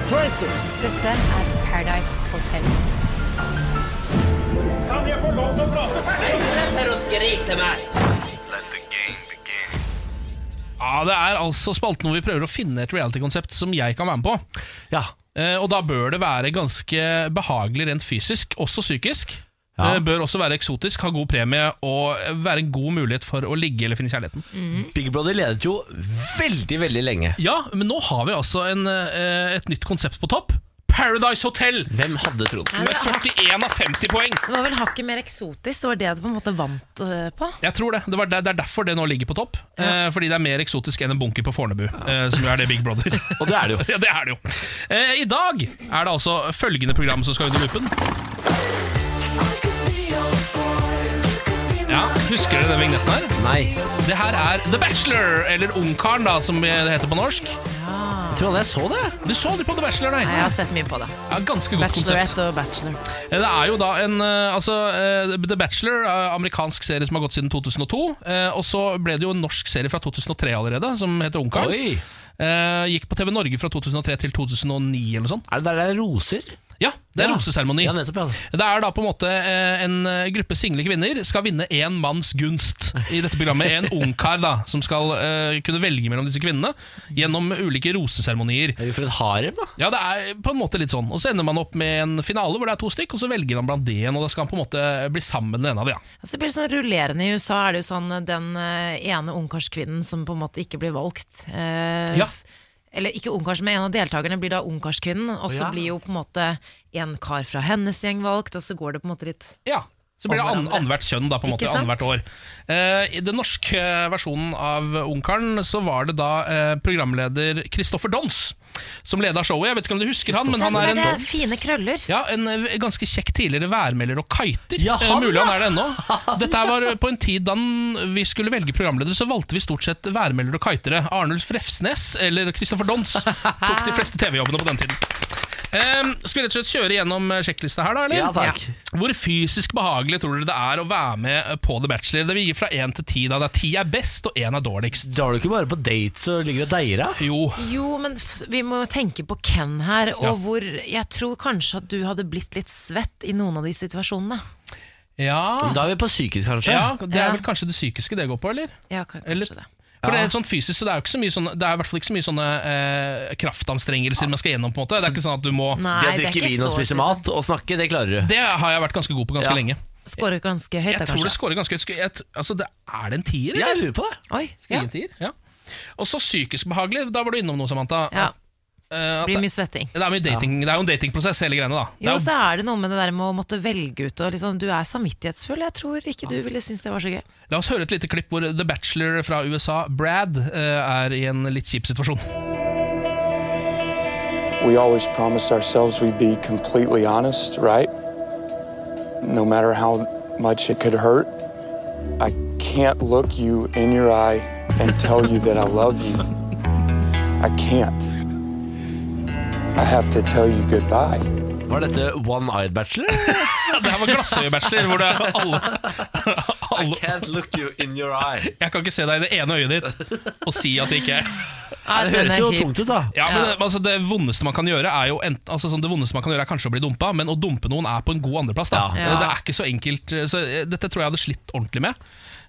Speaker 12: er Paradise Hotel.
Speaker 3: Ja, Det er altså spalten hvor vi prøver å finne et reality-konsept som jeg kan være med på.
Speaker 1: Ja.
Speaker 3: Eh, og da bør det være ganske behagelig rent fysisk, også psykisk.
Speaker 1: Ja.
Speaker 3: Eh, bør også være eksotisk, ha god premie og være en god mulighet for å ligge eller finne kjærligheten.
Speaker 1: Big Brother ledet jo veldig, veldig lenge.
Speaker 3: Ja, men nå har vi altså en, eh, et nytt konsept på topp. Paradise Hotel!
Speaker 1: Hvem hadde trodd?
Speaker 3: Med 41 av 50 poeng.
Speaker 2: Det var vel hakket mer eksotisk. Det var det du på en måte vant eh, på.
Speaker 3: Jeg tror Det Det, var der, det er derfor det nå ligger på topp. Eh, fordi det er mer eksotisk enn en bunker på Fornebu, eh, som jo er det Big Brother.
Speaker 1: Og det er det jo.
Speaker 3: ja, det er det jo. Eh, I dag er det altså følgende program som skal under lupen. Ja, Husker dere den vignetten her?
Speaker 1: Nei.
Speaker 3: Det her er The Bachelor, eller Ungkaren, da, som det heter på norsk.
Speaker 1: Jeg tror aldri jeg så det.
Speaker 3: Du så aldri på The Bachelor, nei?
Speaker 2: Nei, jeg har sett mye på det.
Speaker 3: Ja, ganske godt konsept.
Speaker 2: Bachelorette og bachelor.
Speaker 3: Det er jo da en eh, altså, eh, The Bachelor, eh, amerikansk serie som har gått siden 2002. eh, Og så ble det jo en norsk serie fra 2003 allerede, som heter Ungkaren.
Speaker 1: Oi.
Speaker 3: Eh, Gikk på TV Norge fra 2003 til 2009 eller noe sånt.
Speaker 1: Er det der det er roser?
Speaker 3: Ja, det er
Speaker 1: Ja.
Speaker 3: roseseremoni.
Speaker 1: Ja, nettopp. Ja.
Speaker 3: Det er da på en måte eh, en eh, gruppe single kvinner skal vinne én manns gunst i dette programmet. En ungkar da, som skal eh, kunne velge mellom disse kvinnene gjennom ulike roseseremonier.
Speaker 1: Er vi for et harem, da?
Speaker 3: Ja, det er på en måte litt sånn. Og så ender man opp med en finale hvor det er to stykk, og så velger han blant det igjen, og da skal han på en måte bli sammen med den ene av de, ja.
Speaker 2: Og så blir det sånn rullerende i USA, er det jo sånn eh, den eh, ene ungkarskvinnen som på en måte ikke blir valgt. Eh,
Speaker 3: Ja.
Speaker 2: Eller ikke ungkars, men en av deltakerne blir da ungkarskvinnen, og
Speaker 1: Ja.
Speaker 2: så blir jo på en måte en kar fra hennes gjeng valgt, og så går det på en måte litt
Speaker 3: ja. Så blir det
Speaker 2: Og
Speaker 3: an-
Speaker 2: hverandre.
Speaker 3: annethvert kjønn, da, på en måte.
Speaker 2: Ikke sant?
Speaker 3: Annethvert år. Eh, I den norske versjonen av Ungkaren så var det da eh, programleder Christoffer Dons som leda showet. Jeg vet ikke om du husker han, men han er en
Speaker 2: det fine krøller.
Speaker 3: Ja, En eh, ganske kjekk tidligere værmelder og kiter.
Speaker 1: Ja, han,
Speaker 3: Eh, Mulig han
Speaker 1: ja.
Speaker 3: er det ennå. Dette her var eh, på en tid da n- vi skulle velge programleder, så valgte vi stort sett værmelder og kitere. Arnulf Refsnes eller Christopher Dons tok de fleste TV-jobbene på den tiden. Eh, skal vi rett og slett kjøre gjennom eh, sjekklista her, da? eller?
Speaker 1: Ja, takk.
Speaker 3: Hvor fysisk behagelig tror dere det er å være med eh, på The Bachelor? Det vil gi fra én til ti, da. Det er ti er best, og én er dårligst.
Speaker 1: Drar du ikke bare på dates og ligger og deier av?
Speaker 3: Jo,
Speaker 2: Jo, men f vi må jo tenke på Ken her, og
Speaker 3: Ja.
Speaker 2: hvor Jeg tror kanskje at du hadde blitt litt svett i noen av de situasjonene.
Speaker 3: ja.
Speaker 1: Da er vi på psykisk, kanskje.
Speaker 3: ja Det er
Speaker 2: Ja.
Speaker 3: vel kanskje det psykiske det går på, eller?
Speaker 2: Ja, kan- kanskje
Speaker 3: Eller-
Speaker 2: det.
Speaker 3: For det er sånn fysisk, så det er jo ikke så mye sånne, det er i hvert fall ikke så mye sånne eh, kraftanstrengelser man skal gjennom. på en måte Det er ikke sånn at du
Speaker 2: Nei,
Speaker 3: må
Speaker 1: Det å
Speaker 2: det er
Speaker 1: drikke
Speaker 2: ikke
Speaker 1: vin og
Speaker 2: så
Speaker 1: spise
Speaker 2: slitsomt.
Speaker 1: mat og snakke, det klarer du.
Speaker 3: Det har jeg vært ganske god på ganske
Speaker 1: Ja.
Speaker 3: lenge.
Speaker 2: Skårer ganske høyt,
Speaker 3: Jeg
Speaker 2: da,
Speaker 3: tror det
Speaker 2: kanskje.
Speaker 3: scorer ganske høyt. Skal- jeg tr- Altså, det er det en tier,
Speaker 1: Ja,
Speaker 3: eller?
Speaker 1: jeg lurer på det.
Speaker 2: Oi,
Speaker 3: Ja.
Speaker 2: ja.
Speaker 3: En tier, ja. Og så psykisk behagelig. Da var du innom noe, Samantha.
Speaker 2: ja.
Speaker 3: Eh, at
Speaker 2: Blir
Speaker 3: det,
Speaker 2: mye svetting.
Speaker 3: det er mye dating, det er jo en datingprosess, hele greiene. da Det
Speaker 2: Jo,
Speaker 3: er
Speaker 2: så er det noe med det der med å måtte velge ut og liksom Du er samvittighetsfull. Jeg tror ikke du ville synes det var så gøy.
Speaker 3: jo, la oss høre et lite klipp hvor The Bachelor fra USA, Brad, eh, er i en litt kjip situasjon.
Speaker 13: We always promised ourselves we'd be completely honest, right? No matter how much it could hurt, I can't look you in your eye and tell you that I love you. I can't. I have to tell you goodbye.
Speaker 1: Var dette One Eyed Bachelor?
Speaker 3: Det her var Glassøye-bachelor, hvor det er alle, alle I
Speaker 1: can't look you in your eye.
Speaker 3: Jeg kan ikke se deg i det ene øyet ditt og si at det ikke er
Speaker 1: Ja, det høres jo tungt ut, da.
Speaker 3: Ja, men
Speaker 1: Ja.
Speaker 3: det- altså, det vondeste man kan gjøre er jo ent, altså, sånn, Det vondeste man kan gjøre er kanskje å bli dumpa, men å dumpe noen er på en god andreplass. Da.
Speaker 1: Ja.
Speaker 3: Det er ikke så enkelt eh, så, eh, Dette tror jeg hadde slitt ordentlig med.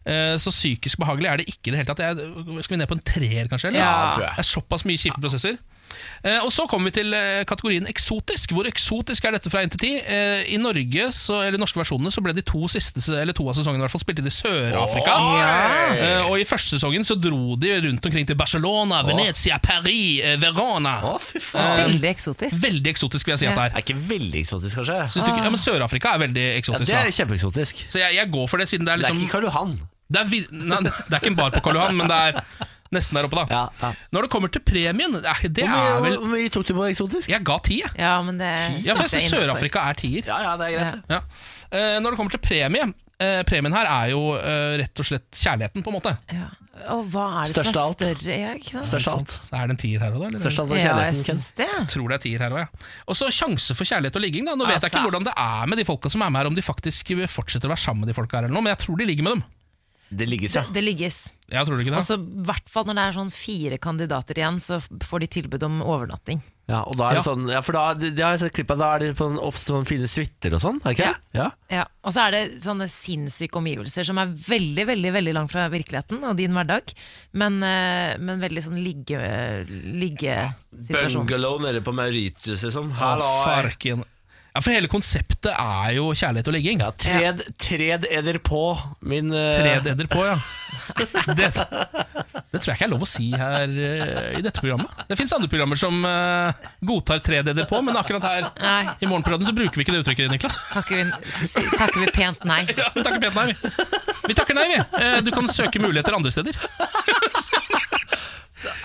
Speaker 3: Eh, Så psykisk behagelig er det ikke i det hele tatt. Jeg, skal vi ned på en treer, kanskje? Eller?
Speaker 1: Ja, tror jeg.
Speaker 3: Det er såpass mye kjipe prosesser. Eh, og Så kommer vi til eh, kategorien eksotisk. Hvor eksotisk er dette fra 1 til 10? Eh, I Norge, så, eller i norske versjonene så ble de to siste Eller to av sesongene i hvert fall spilt inn i Sør-Afrika.
Speaker 1: Oi!
Speaker 3: Eh, og I første sesongen så dro de rundt omkring til Barcelona, Venezia, Paris, eh, Verona.
Speaker 2: Veldig eksotisk.
Speaker 3: Veldig eksotisk, vil jeg si at det er.
Speaker 1: Er ikke veldig eksotisk, kanskje?
Speaker 3: Syns du ikke, ja, men Sør-Afrika er veldig eksotisk.
Speaker 1: Ja, det er
Speaker 3: da.
Speaker 1: kjempeeksotisk.
Speaker 3: Så jeg, jeg går for det, siden det er liksom
Speaker 1: Det er ikke Karl Johan.
Speaker 3: Det er, vir nei, det er ikke en bar på Karl Johan, men det er nesten der oppe, da. Når det kommer til premien, det er, det
Speaker 1: Hvor mye-
Speaker 3: er vel
Speaker 1: Hvor mye tok du på eksotisk?
Speaker 3: Jeg ga ti, jeg.
Speaker 2: Ja, men det
Speaker 3: Ja, for jeg synes Sør-Afrika er tier.
Speaker 1: Ja, ja, det er greit.
Speaker 3: Ja. Eh, når det kommer til premie eh, Premien her er jo eh, rett og slett kjærligheten, på en måte.
Speaker 2: Og hva er det
Speaker 3: Størst
Speaker 2: som
Speaker 3: av
Speaker 2: er
Speaker 3: alt.
Speaker 2: større? Ja, ikke sant?
Speaker 3: Ikke sant? Så er det en tier her òg, da? eller?
Speaker 2: Størst av alt er Ja, jeg kjærligheten, Ken. synes det.
Speaker 3: Jeg tror det er tier her òg, ja. Og så sjanse for kjærlighet og ligging, da. Nå vet jeg
Speaker 2: Altså.
Speaker 3: ikke hvordan det er med de folka som er med her, om de faktisk fortsetter å være sammen med de folka her eller noe, men jeg tror de ligger med dem.
Speaker 1: Det ligges,
Speaker 2: Det, det ligges.
Speaker 3: Jeg tror ikke det.
Speaker 2: Og så i hvert fall når det er sånn fire kandidater igjen, så f- får de tilbud om overnatting.
Speaker 1: Ja, og da er det
Speaker 2: Ja.
Speaker 1: sånn Ja, for da, det det har jeg sett klipp av, da er de på en, ofte sånn fine suiter og sånn, er det ikke det? Ja.
Speaker 2: Ja, Og så er det sånne sinnssyke omgivelser som er veldig veldig, veldig langt fra virkeligheten og din hverdag, men, eh, men veldig sånn ligge... liggesituasjon.
Speaker 1: Bungalow nede på Mauritius, liksom.
Speaker 3: Å, farken. Ja, for hele konseptet er jo kjærlighet og ligging. Ja,
Speaker 1: Tred, tred eder på min eh,
Speaker 3: Tred eder på, ja. Det, det tror jeg ikke er lov å si her eh, i dette programmet. Det fins andre programmer som eh, godtar tred eder på, men akkurat her
Speaker 2: Nei.
Speaker 3: i morgenperioden så bruker vi ikke det uttrykket, Niklas.
Speaker 2: Takker vi, s- s- takker vi pent nei.
Speaker 3: Ja, vi takker pent nei, vi. Vi takker nei, vi. Eh, Du kan søke muligheter andre steder.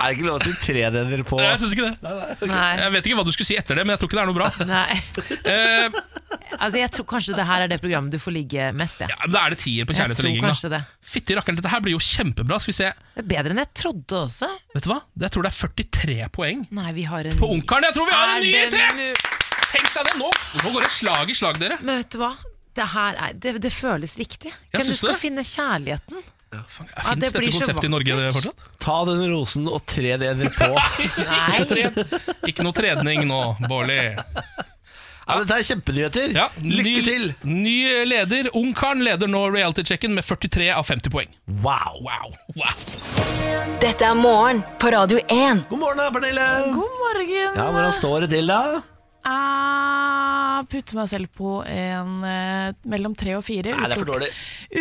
Speaker 1: Er det ikke lov å si tred eder på?
Speaker 3: Nei, jeg syns ikke det.
Speaker 2: Nei.
Speaker 3: Jeg vet ikke hva du skulle si etter det, men jeg tror ikke det er noe bra.
Speaker 2: Nei.
Speaker 3: Eh,
Speaker 2: Altså, jeg tror kanskje det her er det programmet du får ligge mest, jeg.
Speaker 3: Da er det tier på
Speaker 2: Jeg
Speaker 3: kjærlighet og
Speaker 2: tror
Speaker 3: ligging.
Speaker 2: kanskje
Speaker 3: da.
Speaker 2: det.
Speaker 3: Fytti rakkeren, dette her blir jo kjempebra. Skal vi se.
Speaker 2: Det er bedre enn jeg trodde også.
Speaker 3: Vet du hva? Jeg tror det er 43 poeng.
Speaker 2: Nei, vi har en
Speaker 3: På Ungkaren, jeg tror vi har en
Speaker 2: Er det
Speaker 3: nyhet! Tenk deg det nå! Nå går det slag i slag, dere.
Speaker 2: Men vet du hva? Det her er, det, det føles riktig. Hvem du
Speaker 3: syns
Speaker 2: skal
Speaker 3: det.
Speaker 2: finne kjærligheten?
Speaker 3: Ja, Fins
Speaker 2: det blir
Speaker 3: dette
Speaker 2: så
Speaker 3: konseptet i Norge fortsatt?
Speaker 1: Ta den rosen og tred eder på.
Speaker 2: Nei.
Speaker 3: Ikke noe tredning nå, Bårli.
Speaker 1: Ja, men dette er kjempenyheter.
Speaker 3: Ja,
Speaker 1: Lykke til!
Speaker 3: Ny, ny leder. Ungkaren leder nå reality-checken med 43 av 50 poeng.
Speaker 1: Wow.
Speaker 3: wow, wow.
Speaker 4: Dette er morgen på Radio 1.
Speaker 1: God morgen da, Pernille.
Speaker 11: God morgen.
Speaker 1: Ja, Hvordan står det til, da?
Speaker 11: Jeg putter meg selv på en eh, mellom tre og fire.
Speaker 1: Nei, det er for
Speaker 11: utelukk-
Speaker 1: dårlig.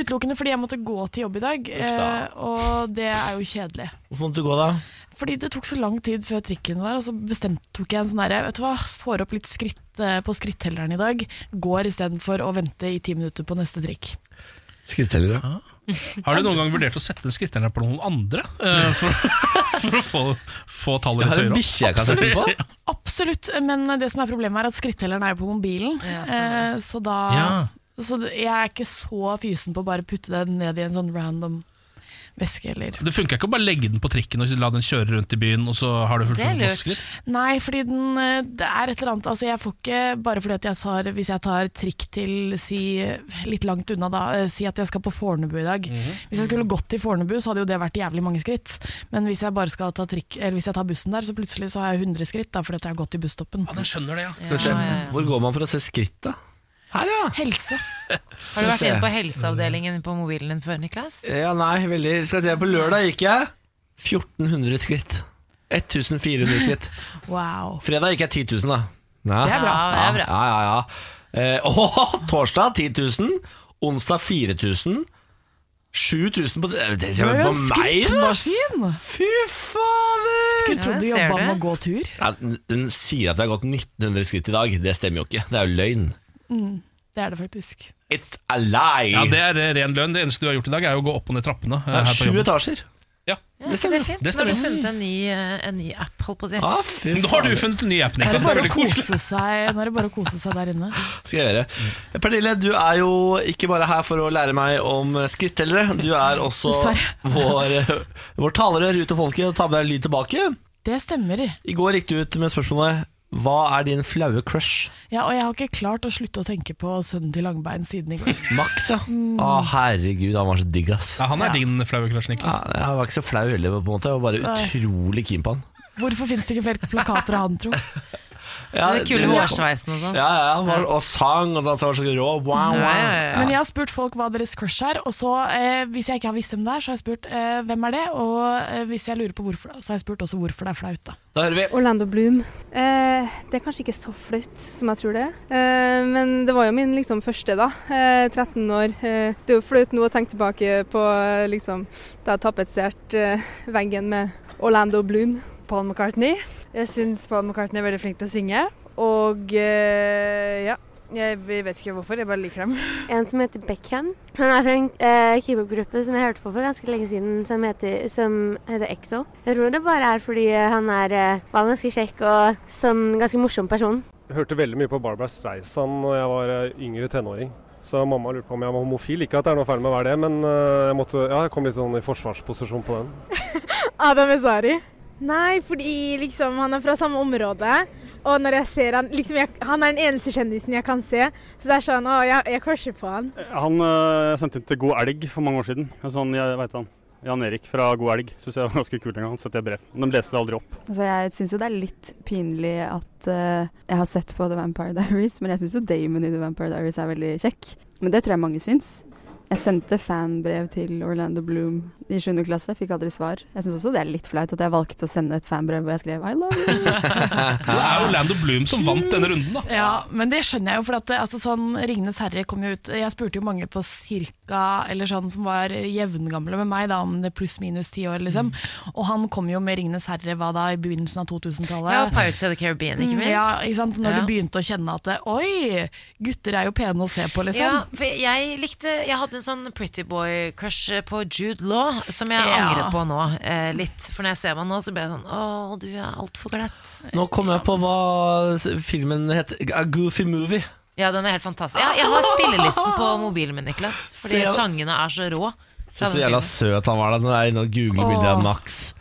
Speaker 11: Utelukkende fordi jeg måtte gå til jobb i dag,
Speaker 1: Uff da.
Speaker 11: eh, og det er jo kjedelig.
Speaker 1: Hvorfor måtte du gå, da?
Speaker 11: Fordi det tok så lang tid før trikken var, og så bestemte tok jeg en sånn derre Vet du hva, får opp litt skritt eh, på skrittelleren i dag. Går istedenfor å vente i ti minutter på neste trikk.
Speaker 1: Skrittellere.
Speaker 3: Har du noen gang vurdert å sette skritterne på noen andre eh, for, for å få, få tallet
Speaker 1: Jeg
Speaker 3: litt
Speaker 1: har en
Speaker 3: høyere?
Speaker 1: bikkje jeg kan sette den på.
Speaker 11: Absolutt, men det som er problemet er at skrittelleren er jo på mobilen. eh, så da
Speaker 3: Ja.
Speaker 11: Så det- jeg er ikke så fysen på å bare putte den ned i en sånn random veske, eller
Speaker 3: Det funker ikke å bare legge den på trikken og la den kjøre rundt i byen, og så har du fullt
Speaker 11: Det er
Speaker 3: fullt
Speaker 11: lurt.
Speaker 3: skritt?
Speaker 11: Nei, fordi den eh, Det er et eller annet Altså, jeg får ikke Bare fordi at jeg tar Hvis jeg tar trikk til Si litt langt unna, da. eh, Si at jeg skal på Fornebu i dag.
Speaker 3: Mhm.
Speaker 11: Hvis jeg skulle gått til Fornebu, så hadde jo det vært jævlig mange skritt. Men hvis jeg bare skal ta trikk Eller hvis jeg tar bussen der, så plutselig så har jeg 100 skritt, da, fordi at jeg har gått til busstoppen.
Speaker 3: Ja, den skjønner det, ja.
Speaker 1: Skal vi se. Hvor går man for å se skritt, da? Her, ja.
Speaker 11: Helse.
Speaker 2: Har du vært inne på helseavdelingen på mobilen din før, Niklas?
Speaker 1: Ja, nei, veldig Skal vi se, på lørdag gikk jeg 1400 skritt 1400 skritt
Speaker 11: Wow.
Speaker 1: Fredag gikk jeg 10 000 da ja.
Speaker 11: Det er bra,
Speaker 1: ja,
Speaker 11: det er bra.
Speaker 1: Ja, ja, ja eh, åh, Torsdag 10 000 Onsdag 4 000 7 000 på, det- det
Speaker 11: Du
Speaker 1: kommer
Speaker 11: er jo
Speaker 1: på
Speaker 11: en
Speaker 1: meg da
Speaker 11: Skrittmaskin!
Speaker 1: Fy fader!
Speaker 11: Skulle trodd du
Speaker 1: Ja, jeg ser
Speaker 11: jobba med
Speaker 1: det.
Speaker 11: å gå tur.
Speaker 1: ja, den- Den sier at jeg har gått 1900 skritt i dag Det stemmer jo ikke, det er jo løgn
Speaker 11: Mm, det er det faktisk.
Speaker 1: It's a lie
Speaker 3: Ja, Det er eh, ren lønn. Det eneste du har gjort i dag, er jo å gå opp og ned trappene. eh,
Speaker 1: Det er
Speaker 3: her på
Speaker 1: sju
Speaker 3: jobben.
Speaker 1: etasjer
Speaker 3: Ja.
Speaker 2: det stemmer. Det, er fint.
Speaker 3: Det
Speaker 2: Nå har du
Speaker 3: stemmer.
Speaker 2: funnet en ny, eh, en ny app, holdt på å si.
Speaker 1: Ah, fy
Speaker 3: Nå har du funnet en ny app, Niklas. Det er veldig koselig.
Speaker 11: seg, nå er det bare å kose seg der inne.
Speaker 1: skal jeg gjøre. Pernille, du er jo ikke bare her for å lære meg om skrittellere. Du er også
Speaker 11: Dessverre.
Speaker 1: vår, eh, vår talerør ut til folket og tar med deg lyd tilbake.
Speaker 11: Det stemmer.
Speaker 1: I går gikk du ut med spørsmålet Hva er din flaue crush?
Speaker 11: Ja, og jeg har ikke klart å slutte å tenke på sønnen til Langbein siden i går.
Speaker 1: Max, ja.
Speaker 11: Mm.
Speaker 1: Å, herregud, han var så digg, ass.
Speaker 3: Ja, han er din flaue crush, Niklas.
Speaker 1: Ja, jeg var ikke så flau heller, på en måte. Jeg var bare
Speaker 11: Nei.
Speaker 1: utrolig keen på han.
Speaker 11: Hvorfor finnes det ikke flere plakater av han, tro?
Speaker 1: Ja,
Speaker 11: Den kule hårsveisen
Speaker 2: og sånn.
Speaker 1: Ja, ja, han var, og sang, og han var så rå. Wow, wow.
Speaker 11: Men jeg har spurt folk hva deres crush er, og så, eh, hvis jeg ikke har visst hvem det er, så har jeg spurt eh, hvem er det, og eh, hvis jeg lurer på hvorfor, så har jeg spurt også hvorfor det er flaut, da.
Speaker 1: Da hører vi.
Speaker 12: Orlando Bloom. Eh, det er kanskje ikke så flaut som jeg tror det. er. Eh, men det var jo min liksom, første, da. Eh, 13 år. Eh, det er jo flaut nå å tenke tilbake på eh, liksom, da jeg tapetserte eh, veggen med Orlando Bloom.
Speaker 14: Paul McCartney. Jeg syns Paul McCartney er veldig flink til å synge. Og eh, ja, jeg vet ikke hvorfor, jeg bare liker dem.
Speaker 15: En som heter Beckham. Han er fra en eh, keepergruppe som jeg hørte på for ganske lenge siden, som heter, som heter EXO. Jeg tror det bare er fordi eh, han er eh, var ganske kjekk og sånn ganske morsom person.
Speaker 16: Jeg hørte veldig mye på Barbara Streisand da jeg var eh, yngre tenåring. Så mamma lurte på om jeg var homofil. Ikke at det er noe feil med å være det, men eh, jeg, måtte, ja, jeg kom litt sånn i forsvarsposisjon på den.
Speaker 17: Adam Ezari? Nei, fordi liksom han er fra samme område. Og når jeg ser han liksom jeg, Han er den eneste kjendisen jeg kan se. Så det er sånn Å, jeg, jeg crusher på han.
Speaker 18: Han øh, sendte inn til God elg for mange år siden. En Sånn, jeg vet han. Jan Erik fra God elg syns jeg var ganske kul en gang. Han sendte et brev. Men de leste det aldri opp.
Speaker 19: Altså, jeg syns jo det er litt pinlig at eh, jeg har sett på The Vampire Diaries, men jeg syns jo Damon i The Vampire Diaries er veldig kjekk. Men det tror jeg mange syns. Jeg sendte fanbrev til Orlando Bloom i 7. klasse, fikk aldri svar. Jeg syns også det er litt flaut at jeg valgte å sende et fanbrev hvor jeg skrev 'I love you'.
Speaker 3: Det er Orlando Bloom som vant denne runden, da.
Speaker 11: Ja, men det skjønner jeg jo, for at eh, altså, sånn Ringenes herre kom jo ut Jeg spurte jo mange på cirka, eller sånn som var jevngamle med meg, da, om det pluss-minus ti år, liksom. Og han kom jo med Ringenes herre, hva da, i begynnelsen av 2000-tallet.
Speaker 2: Ja, Pirates of the Caribbean, ikke
Speaker 11: Mm,
Speaker 2: minst.
Speaker 11: Ja, ikke sant? Når
Speaker 2: Ja.
Speaker 11: du begynte å kjenne at det, Oi, gutter er jo pene å se på, liksom.
Speaker 2: Ja, for jeg likte Jeg hadde en sånn pretty boy-crush på Jude Law, som jeg
Speaker 11: Ja.
Speaker 2: angrer på nå, eh, litt. For når jeg ser meg nå, så blir jeg sånn Å, du er altfor glatt.
Speaker 1: Nå kom jeg på hva filmen heter. A Goofy Movie.
Speaker 2: Ja, den er helt fantastisk. Ja, jeg har spillelisten på mobilen min, Niklas. Fordi
Speaker 1: Se-
Speaker 2: sangene er så rå.
Speaker 1: Så, så jævla søt han var da. Nå er jeg inne og googler bilder av Max.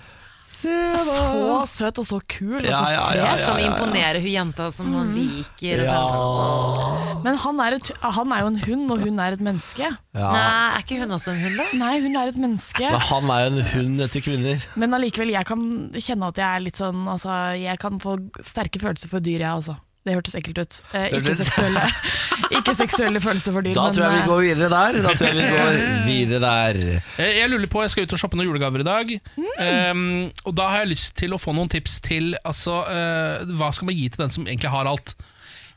Speaker 11: Så søt og så kul. Og så
Speaker 1: Ja, ja, ja,
Speaker 11: fres.
Speaker 2: Som imponerer hun jenta som
Speaker 4: Mm.
Speaker 2: han liker. Og sånn.
Speaker 11: Men han er, et, han er jo en hund, og hun er et menneske.
Speaker 1: Ja.
Speaker 2: Nei, er ikke hun også en hund, da?
Speaker 11: Nei, hun er et menneske.
Speaker 1: Men han er jo en hund etter kvinner.
Speaker 11: Men allikevel, jeg kan kjenne at jeg er litt sånn altså, Jeg kan få sterke følelser for dyr, jeg, altså. Det hørtes ekkelt ut. Eh,
Speaker 1: Det
Speaker 11: ikke,
Speaker 1: hørtes-
Speaker 11: seksuelle, ikke seksuelle følelser for dyr,
Speaker 1: Da
Speaker 11: men
Speaker 1: tror jeg vi
Speaker 11: eh,
Speaker 1: går videre der. Da tror jeg vi går videre der.
Speaker 3: Eh, Jeg lurer på, jeg skal ut og shoppe noen julegaver i dag. Ehm, og da har jeg lyst til å få noen tips til altså, eh, hva skal man gi til den som egentlig har alt.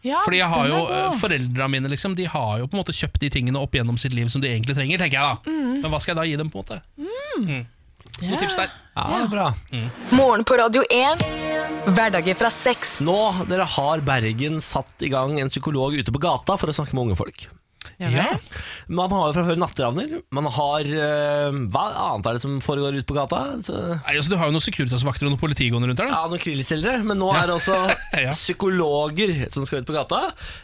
Speaker 11: Ja,
Speaker 3: Fordi jeg har
Speaker 11: den er
Speaker 3: jo,
Speaker 11: god.
Speaker 3: eh, Foreldrene mine liksom, de har jo på en måte kjøpt de tingene opp gjennom sitt liv som de egentlig trenger. tenker jeg da
Speaker 4: Mm.
Speaker 3: Men hva skal jeg da gi dem? på en måte? Mm. Noen tips der.
Speaker 1: Ja, bra.
Speaker 4: Morgen på Radio 1. Hverdager fra seks.
Speaker 1: Nå dere har Bergen satt i gang en psykolog ute på gata for å snakke med unge folk.
Speaker 2: Ja.
Speaker 1: Man har jo fra før natteravner. Man har eh, Hva annet er det som foregår ute på gata? Så,
Speaker 3: Nei, altså, du har jo noen Securitas-vakter og noen politigående rundt her. Da.
Speaker 1: ja, noen krillselgere. Men nå er det også psykologer som skal ut på gata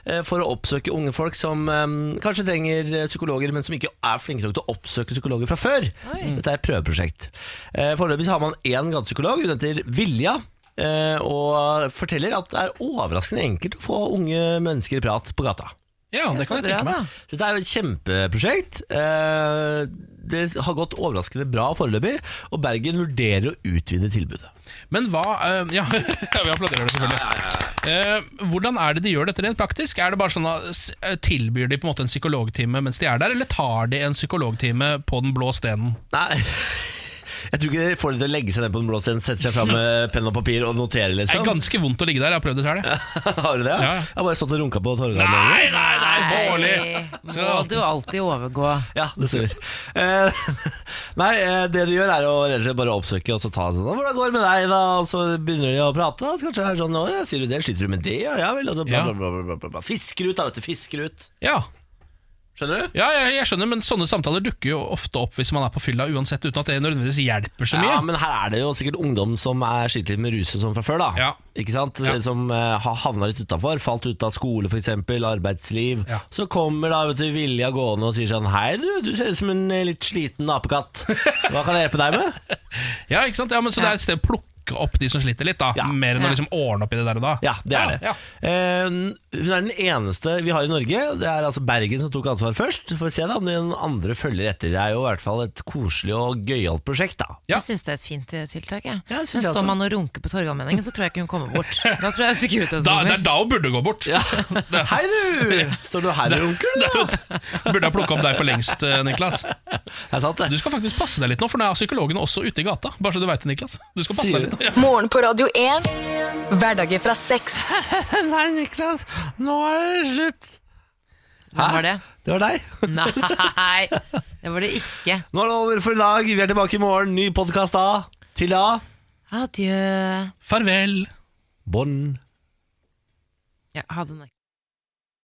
Speaker 1: eh, for å oppsøke unge folk som eh, kanskje trenger eh, psykologer, men som ikke er flinke nok til å oppsøke psykologer fra før. Dette er et prøveprosjekt. Eh, Foreløpig så har man én gatepsykolog. Hun heter Vilja. eh, Og forteller at det er overraskende enkelt å få unge mennesker i prat på gata.
Speaker 3: Ja, det kan jeg tenke meg.
Speaker 1: Så dette er jo et kjempeprosjekt. Eh, Det har gått overraskende bra foreløpig, og Bergen vurderer å utvide tilbudet.
Speaker 3: Men hva eh, Ja, ja, vi applauderer det, selvfølgelig. Eh, hvordan er det de gjør dette rent praktisk? Er det bare sånn at s- eh, Tilbyr de på en måte en psykologtime mens de er der, eller tar de en psykologtime på den blå stenen?
Speaker 1: Nei, jeg tror ikke de får det til å legge seg ned på den blå scenen, sette seg fram med penn og papir og notere,
Speaker 3: Det er
Speaker 1: liksom.
Speaker 3: ganske vondt å ligge der, jeg har prøvd det sjøl.
Speaker 1: Har du det?
Speaker 3: Ja.
Speaker 1: Jeg har bare stått og runka på Torgallmenn.
Speaker 3: Nei, nei, nei, Bårli!
Speaker 2: Nei, Må du alltid overgå.
Speaker 1: Ja, det stemmer. Eh, nei, eh, det de gjør er å rett og slett bare oppsøke og så ta sånn 'Hvordan går det med deg?' da Og så begynner de å prate. Og så kanskje er det sånn 'Å ja, sier du det? Sliter du med det?' Ja, ja vel. Og så bla,
Speaker 3: Ja.
Speaker 1: bla, bla, bla, bla, bla. Fisker ut, da, vet du. Fisker ut.
Speaker 3: Ja.
Speaker 1: Skjønner du?
Speaker 3: Ja, jeg, jeg skjønner, men sånne samtaler dukker jo ofte opp hvis man er på fylla uansett, uten at det nødvendigvis hjelper så mye.
Speaker 1: Ja, men her er det jo sikkert ungdom som er sliter litt med ruse som fra før, da. Ikke sant? Som eh, har havna litt utafor. Falt ut av skole, f.eks. Arbeidsliv. Så kommer da vet du, Vilja gående og sier sånn Hei, du, du ser ut som en eh, litt sliten apekatt. Hva kan jeg hjelpe deg med?
Speaker 3: Ja, ikke sant? Ja, men Så det er et sted å plukke opp de som sliter litt, da. Mer enn å
Speaker 1: Ja.
Speaker 3: liksom ordne opp i det der og da.
Speaker 1: Ja, det er det. Eh, hun er den eneste vi har i Norge. Det er altså Bergen som tok ansvar først. Får vi se da om den andre følger etter. Det er jo i hvert fall et koselig og gøyalt prosjekt, da.
Speaker 2: Jeg syns det er et fint eh, tiltak. Jeg.
Speaker 1: Men
Speaker 2: står
Speaker 1: jeg også.
Speaker 2: man og runker på Torgallmenningen, så tror jeg ikke hun kommer bort. Da tror jeg jeg stikker ut en
Speaker 3: Da, det
Speaker 2: sommer.
Speaker 3: er da hun burde gå bort.
Speaker 1: Hei, du! Står du her, onkel?
Speaker 3: Burde ha plukka opp deg for lengst, eh, Niklas.
Speaker 1: Du
Speaker 3: skal faktisk passe deg litt nå, for nå er psykologene også ute i gata. Bare så du vet det, Niklas. Du skal passe
Speaker 1: Sier
Speaker 3: deg litt. Ja.
Speaker 4: Morgen på Radio 1. Hverdager fra seks.
Speaker 1: Nei, Niklas, nå er det slutt.
Speaker 2: Hvem var det?
Speaker 1: Det var deg.
Speaker 2: Nei, det var det ikke.
Speaker 1: Nå er det over for i dag. Vi er tilbake i morgen. Ny podkast da. Til da
Speaker 2: Adjø.
Speaker 3: Farvel.
Speaker 1: Bon.
Speaker 2: Ja, ha det. Nick.